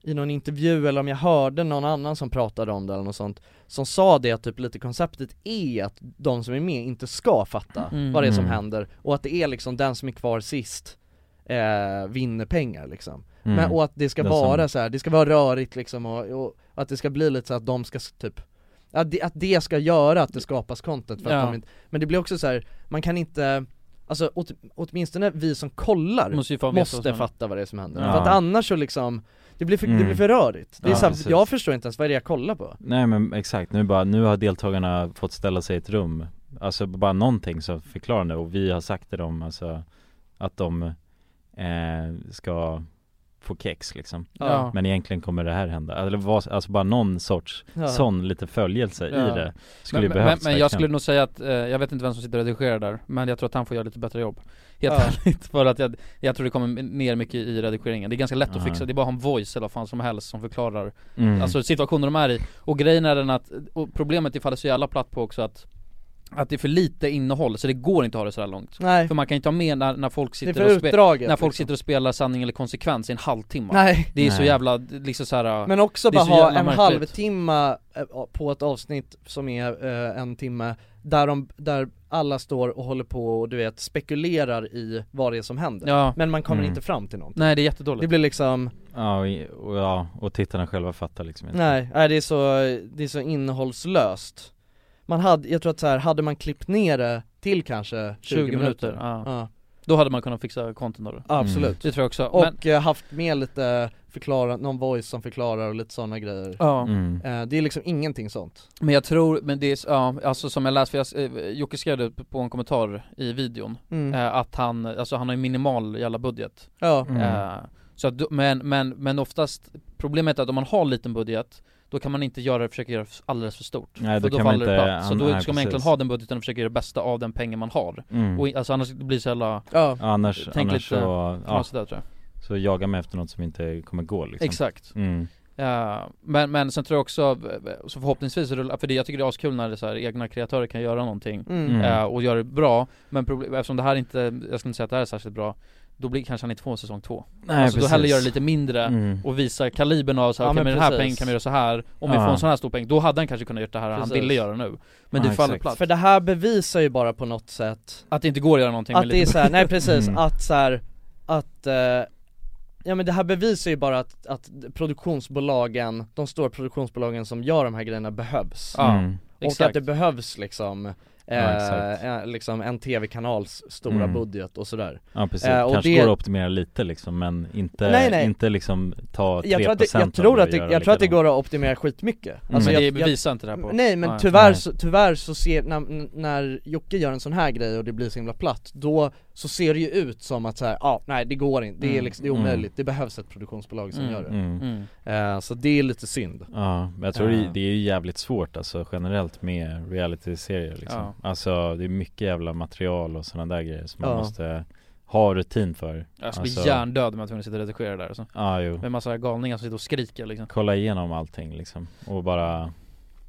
A: i någon intervju eller om jag hörde någon annan som pratade om det eller något sånt Som sa det att typ lite konceptet är att de som är med inte ska fatta
B: Mm.
A: vad det är som
B: Mm.
A: händer och att det är liksom den som är kvar sist eh, vinner pengar liksom
B: Mm.
A: Men, och att det ska
B: Den som-
A: vara så här, det ska vara rörigt liksom och, och att det ska bli lite så att de ska s- typ att det, att det ska göra att det skapas content för att
B: Ja.
A: de inte, men det blir också så här, man kan inte Alltså åt, åtminstone vi som kollar
B: Måste
A: måste,
B: ju fan veta vad som händer.
A: fatta vad det är som händer,
F: Ja.
A: för att annars så liksom Det blir för, det
F: Mm.
A: blir för rörigt, det är
F: Ja,
A: så här,
F: precis.
A: jag förstår inte ens vad det är jag kollar på
F: Nej men exakt, nu bara, nu har deltagarna fått ställa sig i ett rum Alltså bara någonting som förklarar det och vi har sagt till dem alltså Att de eh, ska få kex liksom
B: Ja.
F: Men egentligen kommer det här hända, eller vad, alltså bara någon sorts
B: Ja.
F: sån lite följelse
B: Ja.
F: i det Skulle ju
B: men, men,
F: behövts liksom.
B: men jag
F: verkligen.
B: skulle nog säga att, eh, jag vet inte vem som sitter och redigerar där, men jag tror att han får göra lite bättre jobb Helt
A: Ja.
B: ärligt, för att jag, jag tror det kommer ner mycket i redigeringen Det är ganska lätt att
F: Ja.
B: fixa, det är bara en voice eller vad fan som helst som förklarar
F: Mm.
B: Alltså situationen de är i, och grejen är den att, och problemet ifall det faller så jävla platt på också att att det är för lite innehåll, så det går inte att ha det så här långt
A: Nej.
B: För man kan inte ha med när, när folk sitter
A: för
B: och spe-
A: utdraget,
B: När folk
A: liksom.
B: sitter och spelar sanning eller konsekvens i en halvtimme
A: Nej.
B: Det är så
A: Nej.
B: jävla, liksom så här.
A: Men också
B: det är
A: bara
B: så
A: ha
B: jävla
A: en
B: märkligt.
A: halvtimme eh, på ett avsnitt som är eh, en timme där, de, där alla står och håller på och du vet spekulerar i vad det är som händer
B: Ja. Mm.
A: Men man kommer
F: Mm.
A: inte fram till någonting
B: Nej det är jättedåligt
A: Det blir liksom,
F: Ja, och, och, ja, och tittarna själva fattar liksom inte
A: nej, nej det, är så, det är så innehållslöst Man hade, jag tror att så här, hade man klippt ner det till kanske 20,
B: 20 minuter, ja. Då hade man kunnat fixa content av det
A: Ja, absolut.
B: Det tror jag också,
A: Och
B: men,
A: eh, haft med lite förklara, någon voice som förklarar och lite sådana grejer
B: Ja. Mm.
A: Eh, Det är liksom ingenting sånt
B: men jag tror, men det är, s- ja, alltså som jag läste, för jag, eh, Jocke skrev det på en kommentar i videon
A: Mm.
B: eh, Att han, alltså han har ju minimal jävla budget
A: Ja.
F: Mm.
B: eh, så att, då- men, men, men oftast, problemet är att om man har liten budget då kan man inte göra, försöka göra f- alldeles för stort
F: Nej,
B: för
F: då kan man
B: faller det
F: inte-
B: platt. Så
F: an-
B: då
F: nej,
B: ska man egentligen
F: precis.
B: ha den budgeten och försöka göra det bästa av den pengen man har
F: Mm.
B: och, i- Alltså annars blir det så jävla,
F: Ja, annars,
B: tänk
F: annars
B: lite
F: så, ja,
B: knasigt där tror jag
F: så jagar man efter något som inte kommer gå liksom
B: Exakt.
F: mm.
B: Ja, men, men sen tror jag också, eh, så förhoppningsvis, rullar- för det, jag tycker det är askul när det är så här, egna kreatörer kan göra någonting
F: Mm.
B: eh, och göra det bra, men problem, eftersom det här inte, jag skulle inte säga att det här är särskilt bra då blir, kanske han inte får en säsong två
F: Nej,
B: Alltså då
F: precis.
B: hellre göra det lite mindre
F: Mm.
B: och visa kalibern av så här,
A: Ja, men
B: okej med den här
A: precis.
B: pengen kan vi göra så här om vi
A: Ja.
B: får en sån här stor peng, då hade han kanske kunnat göra det här
A: Precis.
B: han ville göra nu Men det faller platt
A: För det här bevisar ju bara på något sätt
B: Att det inte går att göra någonting
A: Att
B: med
A: det är
B: lite-
A: så här, nej precis,
B: Mm.
A: att så här, att eh, Ja men det här bevisar ju bara att, att produktionsbolagen, de stora produktionsbolagen som gör de här grejerna behövs
B: Ja, Mm.
A: Och
B: exakt.
A: att det behövs liksom, eh,
F: exakt.
A: eh, liksom en tv-kanals stora
F: Mm.
A: budget och sådär
F: Ja precis,
A: Eh, och
F: kanske
A: det-
F: går att optimera lite liksom men inte,
A: Nej, nej.
F: inte liksom ta 3%
A: jag tror att det, jag
F: av
A: tror
F: det
A: att
F: och
A: det,
F: göra
A: jag tror att det
F: likadant.
A: går att optimera skitmycket
F: Men
A: Alltså, jag,
F: det
A: jag-
B: bevisar inte det här på-
A: Nej men
B: Nej.
A: tyvärr,
B: Nej.
A: Så, tyvärr så ser, när, när Jocke gör en sån här grej och det blir så himla platt Då så ser det ju ut som att så här, ja nej det går inte, det är,
F: Mm.
A: liksom, det är
F: Mm.
A: omöjligt, det behövs ett produktionsbolag som
F: Mm.
A: gör det
F: Mm.
A: Eh, Så det är lite synd
F: Ja, men jag tror det,
A: Eh,
F: det är ju jävligt svårt alltså generellt med realityserier liksom
A: Ja.
F: Alltså det är mycket jävla material och sådana där grejer som man
B: Ja.
F: måste ha rutin för Alltså,
B: Jag skulle
A: Alltså-
B: bli hjärndöd om jag var tvungen att sitta och redigera där alltså.
F: Ja, jo.
B: Med massa galningar som sitter och skriker liksom
F: Kolla igenom allting liksom och bara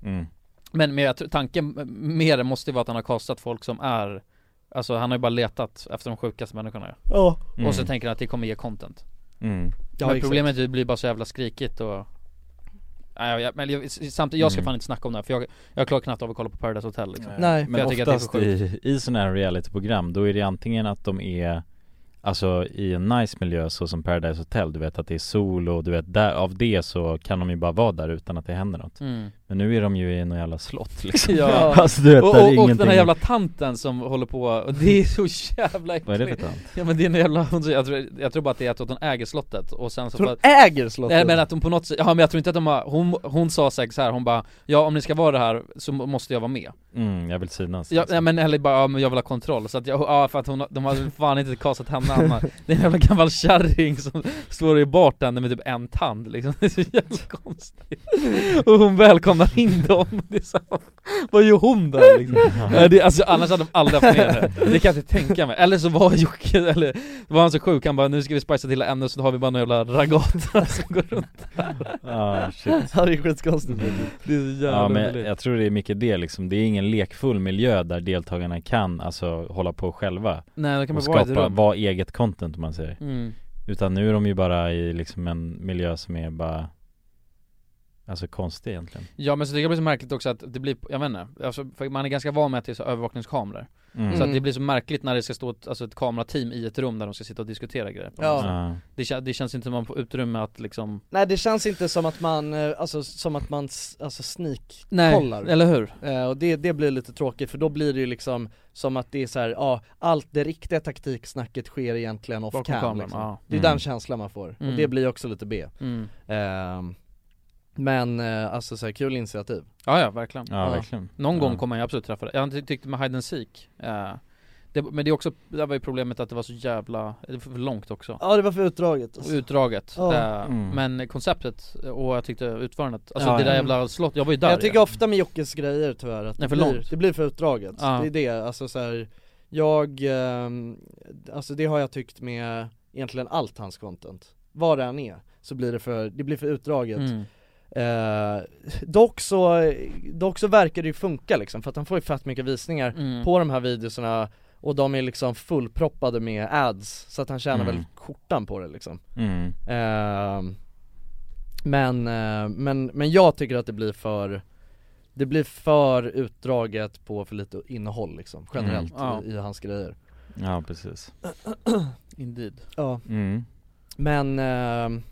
F: mm.
B: Men, men jag tror, tanken med det måste ju vara att han har kastat folk som är Alltså han har ju bara letat efter de sjukaste människorna
A: Ja.
B: Och så
F: Mm.
B: tänker han att det kommer ge content
F: Mm.
A: Ja,
B: Men
A: exakt.
B: problemet är att det blir bara så jävla skrikigt och Nej, jag, men jag, samtidigt, jag ska
F: Mm.
B: fan inte snacka om det här för jag, jag klarar knappt av att kolla på Paradise Hotel liksom. för
F: Eh, Men
B: jag tycker att det är
F: oftast
B: för sjukt
F: i, i sådana här realityprogram då är det antingen att de är Alltså i en nice miljö så som Paradise Hotel, du vet att det är sol och du vet där, av det så kan de ju bara vara där utan att det händer något
B: Mm.
F: Men nu är de ju i något jävla slott liksom
B: Ja.
F: Alltså du vet,
B: och,
F: där
B: och,
F: är
B: och
F: ingenting
B: den här jävla tanten som håller på, och det är så jävla äckligt
F: Vad är det för tant?
B: Ja men det är en jävla, jag tror, jag tror bara att det är att hon äger slottet och sen så
A: Tror
B: bara-
A: hon äger slottet?
B: Nej men att hon på något sätt, ja men jag tror inte att de har, hon, hon sa säkert så här, hon bara Ja om ni ska vara det här så må- måste jag vara med
F: Mm, jag vill synas
B: Ja, nej, men eller bara, ja, men jag vill ha kontroll så att jag, ja för att hon, har- de har väl fan inte kastat henne Anna Det är en jävla gammal kärring som står i bartender med typ en tand liksom, det är så jävla konstigt Och hon välkomnar ramlar in dem, det är så, vad gör hon där liksom? Nej, det, alltså, annars hade de aldrig haft med det, det kan jag inte tänka mig. Eller så var Jocke, eller var han så sjuk, han bara nu ska vi spicea till ännu så har vi bara några jävla ragata som går runt där.
F: Ah, shit.
A: Ja, det är skitkonstigt.
B: Det är så jävla
F: Ja men
B: underligt.
F: jag tror det är mycket det liksom, det är ingen lekfull miljö där deltagarna kan alltså hålla på själva
B: Nej, det kan
F: och
B: bara vara i ett
F: skapa,
B: rum.
F: vara eget content om man säger
B: Mm.
F: Utan nu är de ju bara i liksom en miljö som är bara Alltså konstig egentligen
B: Ja men så det kan bli så märkligt också att det blir, jag vet inte, alltså, för man är ganska van med att det är så övervakningskameror
F: Mm.
B: Så att
F: Mm.
B: det blir så märkligt när det ska stå ett, alltså ett kamerateam i ett rum där de ska sitta och diskutera grejer på
A: Ja.
B: något sätt.
F: Ja.
B: det, kän- det känns inte som man får utrymme att liksom
A: Nej det känns inte som att man, eh, alltså som att man s- alltså
B: Nej,
A: sneak-kollar
B: eller hur?
A: Eh, och det, det blir lite tråkigt för då blir det ju liksom som att det är så här, ja allt det riktiga taktiksnacket sker egentligen off
B: Bakom
A: cam
B: kameran,
A: liksom.
B: ja.
A: Det är
B: Mm.
A: den känslan man får,
B: Mm.
A: och det blir också lite B Ehm, Men eh, alltså så här, kul initiativ
B: Ja ja, verkligen.
F: Ja, verkligen.
B: Någon
F: Ja.
B: gång kommer jag absolut träffa det. Jag ty- tyckte med Hide and Seek, eh, det, men det är också, där var ju problemet att det var så jävla, det var för långt också.
A: Ja det var för utdraget
B: Och Utdraget.
A: Alltså. Ja.
B: Eh,
A: Mm.
B: Men konceptet och jag tyckte utförandet, alltså
A: Ja,
B: det där
A: ja.
B: jävla slott, jag var ju där
A: Jag
B: ju.
A: tycker ofta med Jockes grejer tyvärr att
B: Nej,
A: det,
B: för
A: blir,
B: långt.
A: det blir för utdraget,
B: Ja.
A: det är det, alltså så här, jag, ehm, alltså det har jag tyckt med egentligen allt hans content, vad det än är, så blir det för, det blir för utdraget
B: Mm.
A: Eh, dock så, dock så verkar det ju funka liksom för att han får ju fett mycket visningar
B: Mm.
A: på de här videoserna och de är liksom fullproppade med ads så att han tjänar
F: Mm.
A: väl skjortan på det liksom
F: Mm.
A: Ehm, men, eh, men, men jag tycker att det blir för Det blir för utdraget på för lite innehåll liksom generellt
B: Mm. Ja.
A: i, i hans grejer
F: Ja precis
B: Indeed.
A: Ja
F: Mm.
A: Men ehm,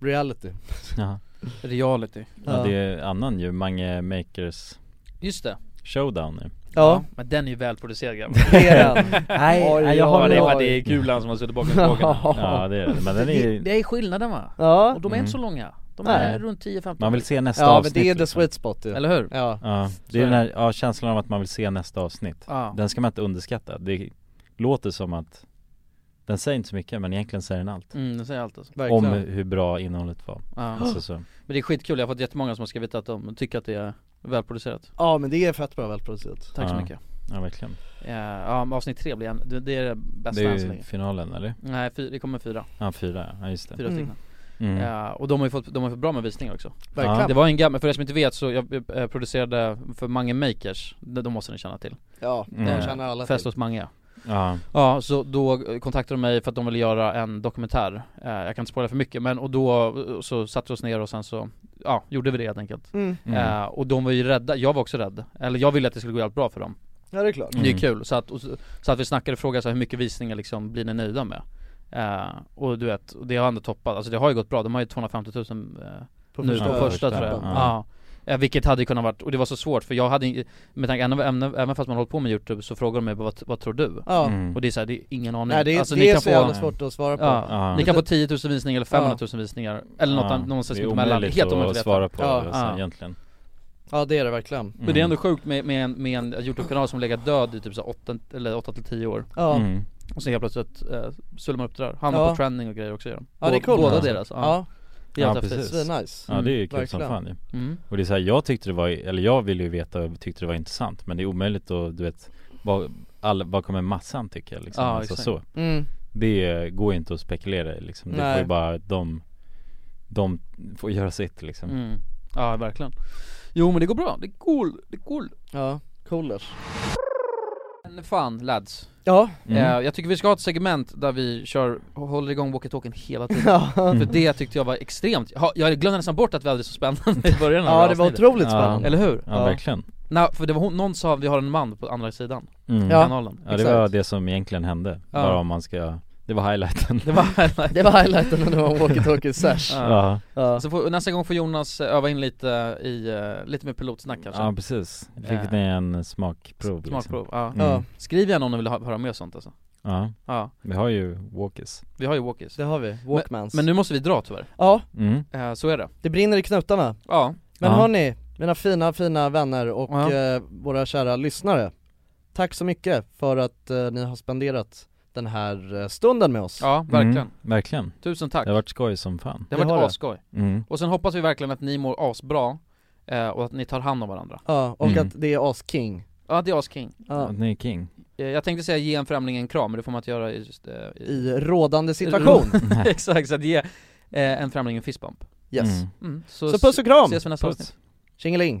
A: Reality
F: Ja,
B: Mm. Reality.
F: ja det är annan ju, Mange Makers
B: Just det.
F: Showdown nu
A: Ja.
B: Men den är ju välproducerad grabbar.
A: Det är den.
F: Nej,
A: Oj,
F: nej, jag
A: oj,
F: håller-
B: det,
A: oj.
B: var, det är Gulan som har suttit bakom frågorna.
F: Ja det är det, men den är
B: Det,
F: ju
B: det är skillnaden va?
A: Ja.
B: Och de är
F: Mm.
B: inte så långa. De
A: Nej.
B: är runt 10-15
F: Man vill se nästa
A: Ja men
F: avsnitt
A: det är the
F: liksom.
A: sweet spot ju
B: Eller hur?
A: Ja
F: Ja,
B: Så
F: det är
B: är
F: den
B: det.
F: här, ja, känslan av att man vill se nästa avsnitt
B: Ja.
F: Den ska man inte underskatta, det låter som att Den säger inte så mycket men egentligen säger den allt
B: Mm, det säger allt alltså.
F: Om hur bra innehållet var
B: Ja.
F: alltså, så.
B: Men det är skitkul, jag har fått jättemånga som har skrivit att de tycker att det är välproducerat
A: Ja men det är fett bra välproducerat
B: Tack så
F: Ja.
B: mycket
F: Ja verkligen
B: Eh, Ja, men avsnitt tre blir en, det, det är det bästa
F: Det
B: än så
F: är ju
B: länge
F: finalen eller?
B: Nej, fy, det kommer fyra,
F: Ja fyra, ja just det
B: fyra stycken
F: Mm.
B: Eh, Och de har ju fått, de har fått bra med visningar också
F: Verkligen. Ja.
B: Det var en gammal, för er som inte vet så jag eh, producerade för Mange Makers, de, de måste ni känna till
A: Ja, de
F: Mm.
A: känner alla
B: Fest
A: till
B: hos Mange
F: Ja,
B: Ja, så då eh, kontaktade de mig för att de ville göra en dokumentär Eh, Jag kan inte spoila för mycket men, och då eh, så satte vi oss ner och sen så, ja, gjorde vi det helt enkelt
A: mm.
F: mm.
B: Eh, Och de var ju rädda, jag var också rädd Eller jag ville att det skulle gå jävligt bra för dem
A: Ja det är klart
B: Det är
F: Mm.
B: ju kul, så att, och så, så att vi snackade och frågade så här, hur mycket visningar liksom blir ni nöjda med? Eh, och du vet, och det har ändå toppat, alltså det har ju gått bra, de har ju 250 000 eh, nu
F: första-
B: på första tror jag
F: appen.
B: ja. Eh, Vilket hade ju kunnat varit, och det var så svårt för jag hade ing- med tanke, även- även, även fast man hållit på med youtube så frågar de mig bara, vad, vad tror du?
A: Ja,
F: Mm.
B: Och det är såhär, det är ingen aning
A: nej det, är-
B: Alltså,
A: det
B: ni
A: är
B: kan
A: så
B: få-
A: jävla svårt att svara på
B: Ja.
F: Ja.
B: Ni kan få 10 000 visningar eller 500 000 visningar Eller något
F: Ja,
B: annat, någonstans
F: det är
B: mitt emellan,
F: omöjligt
B: helt omöjligt
F: att
B: veta.
F: svara på Mm.
A: Ja.
F: alltså,
B: Ja.
F: egentligen
A: Ja det är det verkligen
B: Men det är ändå sjukt med, med, en, med en youtube-kanal som legat död i typ 8 eller 8 till 10 år
A: Ja,
F: Mm.
B: Och sen helt plötsligt eh, sullar man upp det där, hamnar
A: Ja.
B: på trending och grejer också gör de
A: ja det är
B: Bå-
A: coolt
B: Båda
A: Ja.
B: deras, ja,
A: Ja,
B: det är
F: Ja,
B: helt
F: precis.
B: häftigt
A: det är nice
F: Ja det är ju kul som
A: verkligen.
F: fan ju
B: mm.
F: Och det är så här, jag tyckte det var, eller jag ville ju veta och tyckte det var intressant Men det är omöjligt att, du vet Vad, all, vad kommer massan tycka liksom?
B: Ja,
F: alltså,
B: exakt.
F: så
A: mm.
F: Det går ju inte att spekulera i liksom Det
A: Nej.
F: får ju bara de De får göra sitt liksom
B: Mm. Ja verkligen Jo men det går bra, det är cool, det är cool
A: Ja, coolers
B: Men fan lads,
A: Ja,
F: Mm.
B: eh, jag tycker vi ska ha ett segment där vi kör, håller igång walkie-talkien hela tiden
A: ja,
F: Mm.
B: För det tyckte jag var extremt, ja, jag glömde nästan bort att vi hade det så spännande i början av
A: ja det var
B: avsnittet.
A: otroligt
F: Ja.
A: spännande
B: Eller hur?
F: Ja, verkligen
B: Nej, för det var hon, någon sa vi har en man på andra sidan
F: mm.
A: Ja.
B: kanalen
F: Ja, det var det som egentligen hände,
B: Ja.
F: bara om man ska Det var highlighten
B: Det var
A: Det var highlighten när det var walkie-talkie sash
B: Ja.
F: Ja,
A: Ja,
B: Så får, nästa gång får Jonas eh, öva in lite i, eh, lite mer pilotsnack kanske
F: ja precis,
B: Ja.
F: fick ni en smakprov liksom.
B: Smakprov, ja.
F: Mm.
A: Ja.
B: Skriv gärna om ni vill hö- höra mer sånt alltså
F: Ja,
B: Ja,
F: vi har ju walkies
B: vi har ju walkies
A: det har vi, walkmans
B: Men nu måste vi dra tyvärr,
A: Ja,
F: mm.
B: eh, så är det
A: det brinner i knutarna
B: Ja,
A: Men
F: Ja.
A: hörni, mina fina fina vänner och
B: Ja.
A: eh, våra kära lyssnare Tack så mycket för att eh, ni har spenderat den här eh, stunden med oss
B: ja verkligen
F: mm. Verkligen,
B: Tusen tack
F: det har varit skoj som fan
B: Det
A: Det
B: har
A: har det.
B: varit asskoj
F: mm.
B: Och sen hoppas vi verkligen att ni mår asbra eh, och att ni tar hand om varandra.
L: Ja, och
M: Mm.
L: att det är asking
B: Ja, det är asking.
L: ja.
M: Ni är king
B: Eh, Jag tänkte säga ge en främling en kram, men det får man inte göra i just, eh, i-
L: I rådande situation,
F: Mm.
B: Exakt, så att ge eh, en främling en fistbump.
L: yes
M: Mm.
B: Mm.
L: Så puss och kram!
B: Ses vi nästa
M: Puss.
B: avsnitt.
L: Tjingeling!